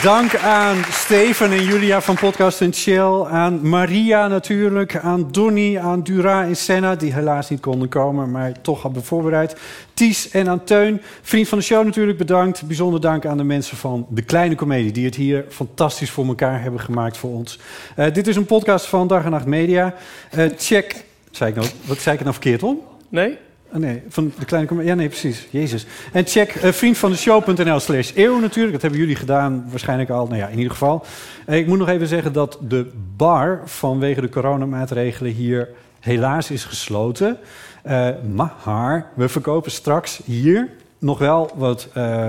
J: Dank aan Steven en Julia van Podcast en Chill. Aan Maria natuurlijk. Aan Donny, aan Dura en Senna, die helaas niet konden komen, maar toch hadden we voorbereid. Ties en aan Teun. Vriend van de show natuurlijk bedankt. Bijzonder dank aan de mensen van De Kleine Comedie, die het hier fantastisch voor elkaar hebben gemaakt voor ons. Eh, dit is een podcast van Dag en Nacht Media. Eh, check. Zei ik nou, wat zei ik het nou verkeerd om?
C: Nee?
J: Ah, nee, van de kleine comedie. Ja, nee, precies. Jezus. En check eh, vriendvandeshow.nl slash eeuw natuurlijk. Dat hebben jullie gedaan waarschijnlijk al. Nou ja, in ieder geval. Eh, ik moet nog even zeggen dat de bar vanwege de coronamaatregelen hier helaas is gesloten. Eh, maar we verkopen straks hier nog wel wat eh,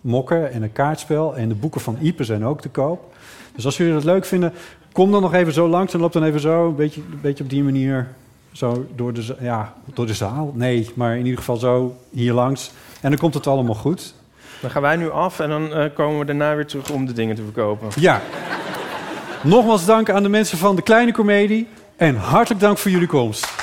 J: mokken en een kaartspel. En de boeken van Ieper zijn ook te koop. Dus als jullie dat leuk vinden, kom dan nog even zo langs en loop dan even zo. Een beetje, een beetje op die manier zo door de, za- ja, door de zaal. Nee, maar in ieder geval zo hier langs. En dan komt het allemaal goed.
C: Dan gaan wij nu af en dan eh, komen we daarna weer terug om de dingen te verkopen.
J: Ja. Nogmaals dank aan de mensen van de Kleine Comedie. En hartelijk dank voor jullie komst.